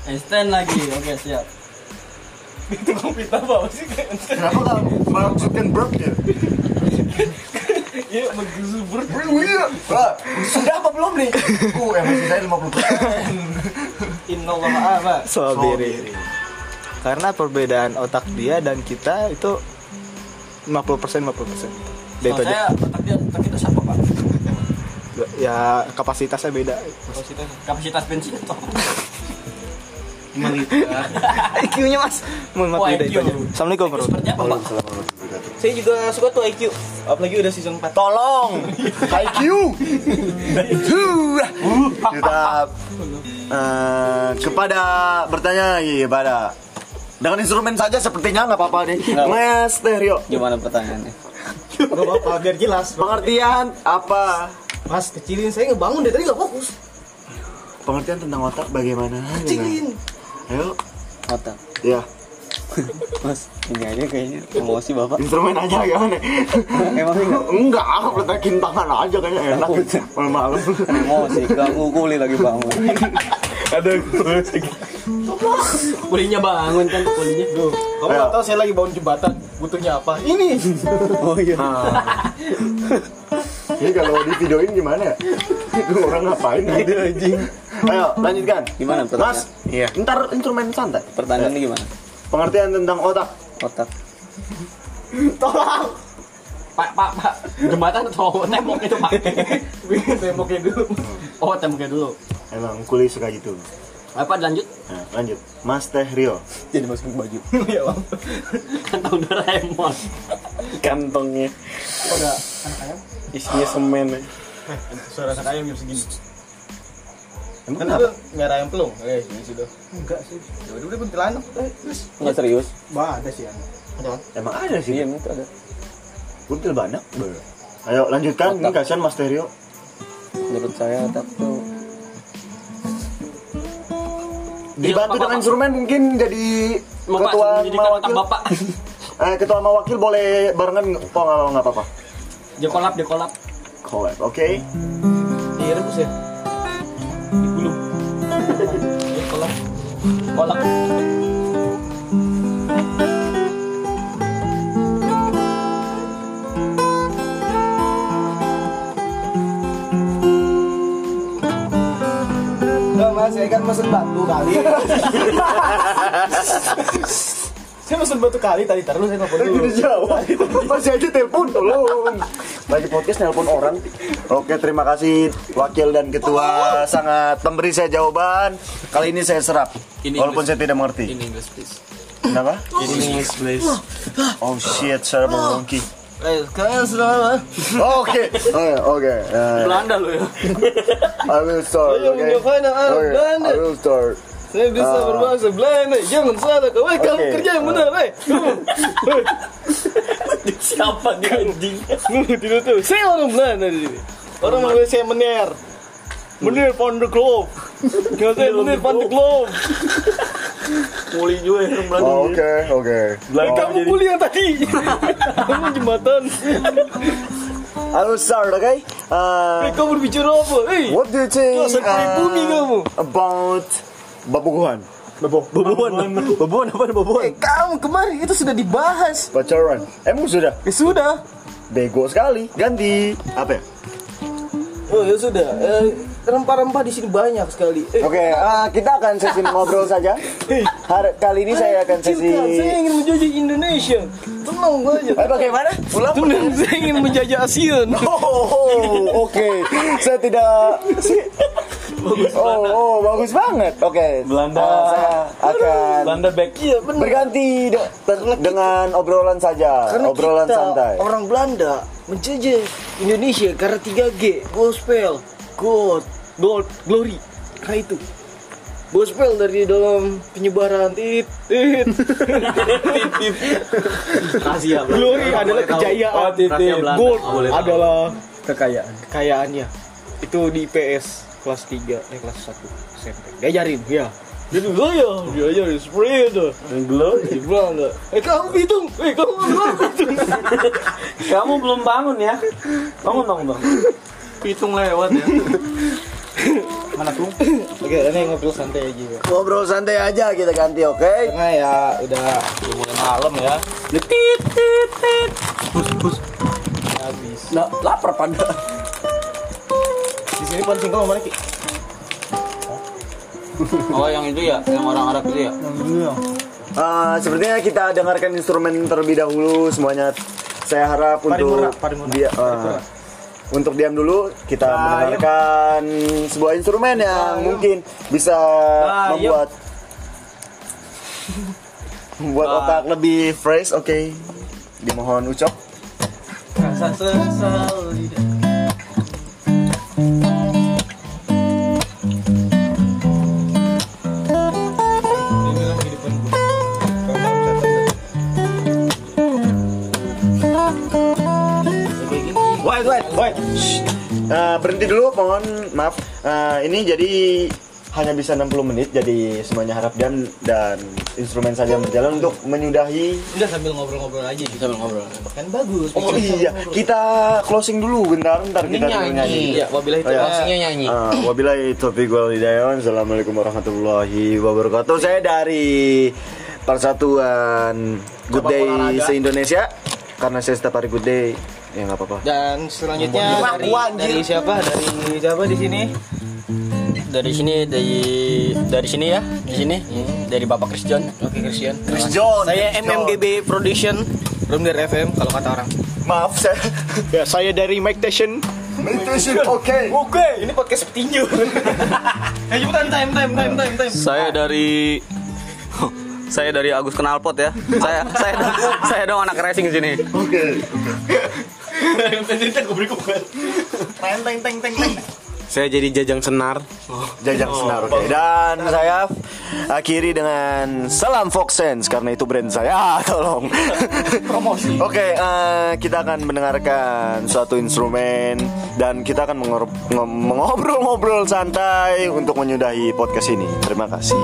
D: Einstein lagi oke siap.
B: Kenapa kalau Mark Zuckerberg ya? Iya, Mark Sudah apa belum nih? Uh, emosi saya 50%.
E: Soal diri. Karena perbedaan otak dia dan kita itu 50% 50%. Dari itu aja.
D: saya otak dia otak kita siapa pak
E: Ya kapasitasnya beda.
D: kapasitas kapasitas bensin atau gitu, (laughs)
E: IQ-nya Mas. Muhammad
D: Wah,
E: beda itu
D: IQ.
E: aja. Assalamualaikum, Bro.
D: seperti apa pak
N: Saya juga suka tuh IQ, apalagi udah season 4.
B: Tolong. IQ. Huah. Kita eh, kepada bertanya lagi kepada dengan instrumen saja sepertinya nggak apa-apa deh. Mas Terio,
C: Gimana pertanyaannya?
E: Enggak apa-apa, biar jelas.
B: pengertian apa?
E: Mas, kecilin saya ngebangun dari tadi enggak fokus.
B: Pengertian tentang otak bagaimana?
E: Kecilin.
B: Ayo,
C: Otak.
B: ya
C: Mas, ini aja kayaknya emosi bapak.
B: instrumen aja (laughs) gimana?
C: Emang enggak?
B: Enggak, aku peletakin tangan aja kayaknya enak. Malam-malam.
C: Emosi, ganggu kuli lagi bangun.
D: kulinya bangun kan kulinya
E: Kamu nggak tahu saya lagi bangun jembatan, butuhnya apa? Ini.
C: Oh iya.
B: (laughs) Ini kalau di videoin gimana ya? Itu orang ngapain? anjing. Ayo, lanjutkan.
C: Gimana pertanyaan?
B: Mas, iya. ntar instrumen santai.
C: Pertanyaannya gimana?
B: Pengertian tentang otak.
C: Otak.
D: pak pak pak jembatan atau tembok itu pak (laughs) temboknya dulu oh temboknya dulu
B: Emang kuliah suka gitu.
D: apa lanjut (laughs)
B: Nah, lanjut. Mas Teh Rio.
C: Jadi masukin baju.
D: kantong Doraemon
O: kantongnya isinya semen ya.
E: Suara anak ayam jam segini.
B: Emang
E: Kan
B: kenapa?
E: itu merah ayam pelung. Eh, ini sudah. Enggak sih. Ya udah udah kuntilanak. Eh, terus.
C: Enggak serius.
E: Wah, ada sih anak.
B: Emang ada sih.
C: Iya, itu ada.
B: Kuntil banyak. Beuh. Ayo lanjutkan. Ini kasihan Mas Teh Rio.
C: Menurut saya otak tuh
B: Dibantu
D: Bapak,
B: dengan
D: Bapak.
B: instrumen mungkin jadi
D: Mau, Pak,
B: ketua
D: jadi
B: sama
D: kan otak
B: wakil.
D: bapak
B: Eh, ketua sama wakil boleh barengan nggak? Oh, nggak nggak apa-apa.
D: jekolap jekolap
B: Collab, oke.
E: Iya,
N: Direbus ya.
D: kolak
E: Enggak, Mas, saya kan mesen batu kali. (laughs) saya mesen batu kali tadi terus
P: Eh,
E: saya telepon dulu.
B: Udah jauh (laughs) Masih aja telepon tolong Lagi podcast nelpon orang Oke terima kasih Wakil dan Ketua Sangat memberi saya jawaban Kali ini saya serap
P: In
B: Walaupun
P: English.
B: saya tidak mengerti
P: In English, please.
B: Kenapa?
P: English, please.
B: Oh shit saya mau monkey
E: Eh, kalian sudah
B: Oke Oke, Oke eh,
D: Belanda lo ya
B: I will start
E: Ayo,
B: Oke
E: Jovana, Arab,
B: Oke,
E: Belanda.
B: I will start Ah.
E: Saya bisa berbahasa Belanda. Jangan salah kau. Eh, kamu
B: Oke.
E: kerja yang benar, eh.
D: siapa dia anjing
E: Tidak tahu. Saya orang Belanda di sini. Orang Malaysia mener.
B: Hmm.
E: Menir van de Kloof. Kalau saya menir van de Kloof.
D: muli juga ya orang Belanda
B: Oh, Oke Oke Oh,
E: Kamu kuliah tadi. Kamu jembatan.
B: I will start Oke Eh,
E: Eh, Kamu berbicara apa? Eh,
B: What do you think
E: Dasar pribumi
B: eh,
E: kamu.
B: About Babuguhan
E: Boboan. Boboan apa boboan? Eh, kamu kemarin itu sudah dibahas.
B: Pacaran Emang Eh, sudah
E: Ya sudah.
B: Bego sekali. Ganti apa ya?
E: Oh, ya sudah. Eh, rempah-rempah di sini banyak sekali. Eh,
B: Oke, ah, kita akan sesi ngobrol saja. Hari, kali ini saya akan sesi.
E: Kecilkan, saya ingin menjajah Indonesia. Tenang saja.
B: Eh,
D: (laughs)
B: bagaimana? Ulang.
E: Tenang, saya ingin menjajah ASEAN.
B: Oh, oh, oh, oke. Saya tidak. si- Oh, oh, bagus banget. Oke.
O: Belanda.
B: ah, saya akan
O: Belanda back
E: Iya, benar.
B: berganti de- ter- dengan obrolan saja,
E: Karena
B: obrolan
E: kita,
B: santai.
E: orang Belanda menjajah Indonesia karena 3G, gospel, God, God, glory. Karena itu. Gospel dari dalam penyebaran tit, tit.
D: rahasia Belanda.
E: glory adalah kejayaan,
D: Rahasia Belanda.
E: God
D: Nggak boleh tahu.
E: adalah kekayaan. Kekayaannya itu di IPS kelas 3 eh kelas 1 SMP. Diajarin, ya. Jadi saya diajarin seperti itu. Glory Belanda. Eh kamu hitung, eh kamu berapa hitung?
O: kamu belum bangun ya bangun dong bang
D: hitung lewat ya
E: Oke, ini ngobrol santai aja. ya.
B: Ngobrol santai aja kita ganti, oke?
E: Karena ya udah
C: malam ya.
D: tit tit tit
E: habis.
D: nah, lapar pada
E: Di sini pancing kamu mana ki?
C: Oh, yang itu ya, yang orang Arab itu ya.
B: Ah, sepertinya kita dengarkan instrumen terlebih dahulu semuanya saya harap
E: Paripurna,
B: untuk
E: paripurna,
B: dia eh,
E: paripurna.
B: untuk diam dulu kita
E: Nah,
B: mendengarkan sebuah instrumen yang mungkin bisa
E: Nah,
B: membuat membuat
E: Nah.
B: otak lebih fresh. Oke, dimohon ucap.
E: Wait, wait, wait.
B: Eh, berhenti dulu, mohon maaf. Eh, ini jadi hanya bisa 60 menit, jadi semuanya harap diam dan instrumen saja berjalan untuk menyudahi.
Q: Udah sambil ngobrol-ngobrol aja gitu. Sambil ngobrol. Kan bagus.
B: Oh iya, kita closing dulu bentar, bentar kita dulu nyanyi.
Q: Iya, wabillahi
B: Oh, iya.
Q: Closingnya nyanyi.
B: Ah, wabillahi taufiq wal hidayah. Assalamualaikum warahmatullahi wabarakatuh. Saya dari Persatuan Good Day se-Indonesia karena saya setiap hari Good Day ya nggak apa-apa.
R: Dan selanjutnya dari, dari siapa? Dari siapa di sini?
D: Dari sini dari dari sini ya, di sini. Dari Bapak Christian.
R: Oke, Christian.
B: Chris John.
R: Saya
B: Chris John.
R: MMGB Production Room dari FM kalau kata orang.
B: Maaf saya.
E: Ya, saya dari Mike Station.
B: Meditation oke.
R: Oke, ini podcast petinju. Ayo cepetan time time time time time.
C: Saya dari (laughs) saya dari Agus Kenalpot ya. Saya saya dong- saya dong anak racing sini.
R: Teng teng teng teng teng.
S: Saya jadi jajang senar.
B: Jajang senar oke. Dan saya akhiri dengan salam Fox Sense karena itu brand saya. Ah, (laughs) tolong. Promosi. oke, eh, kita akan mendengarkan suatu instrumen dan kita akan mengor- ngo- mengobrol-ngobrol santai untuk menyudahi podcast ini. Terima kasih.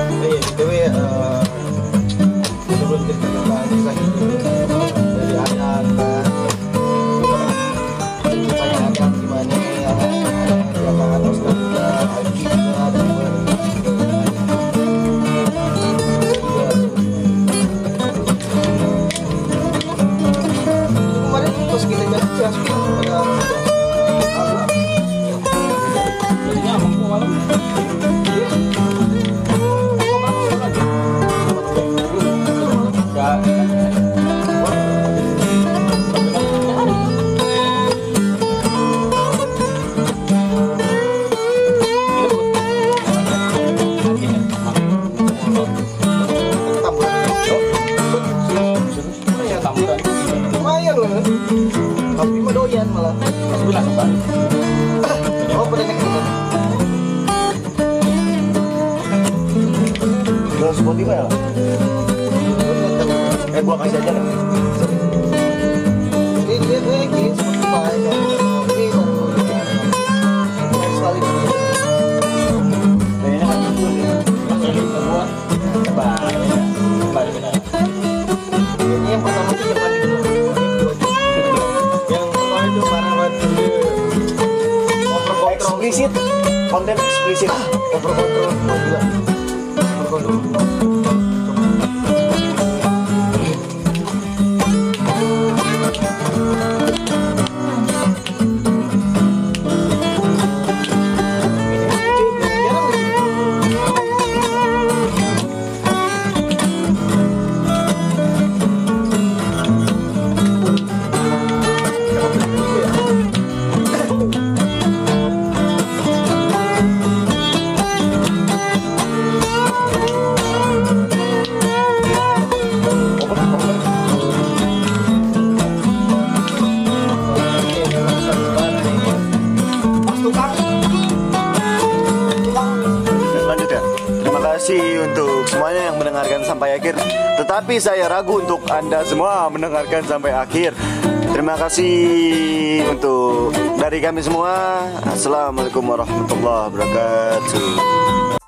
E: Iya, btw eh, sebelum kita tentang kisah hidup dari anak eh, kisahnya anak eh, gimana ya, eh, anak siapa anak juga Ayu juga dan gue juga. kemarin pas kita ya, jadi langsung pada apa lumayan loh tapi mah doyan malah sebulan oh pada nyakitin
B: Lo Spotify lah. Eh, gua kasih aja deh.
E: Ini dia gue kirim seperti banyak. Ini baru gue kirim. Baru sekali. Ini yang pertama tuh yang mandi dulu. Yang pertama itu parah banget. Over control.
B: Eksplisit. Konten eksplisit.
E: Over control. Oh, gila. Over control.
B: Dan lanjut ya. Terima kasih untuk semuanya yang mendengarkan sampai akhir. Tetapi saya ragu untuk Anda semua mendengarkan sampai akhir. Terima kasih untuk dari kami semua. Assalamualaikum warahmatullahi wabarakatuh.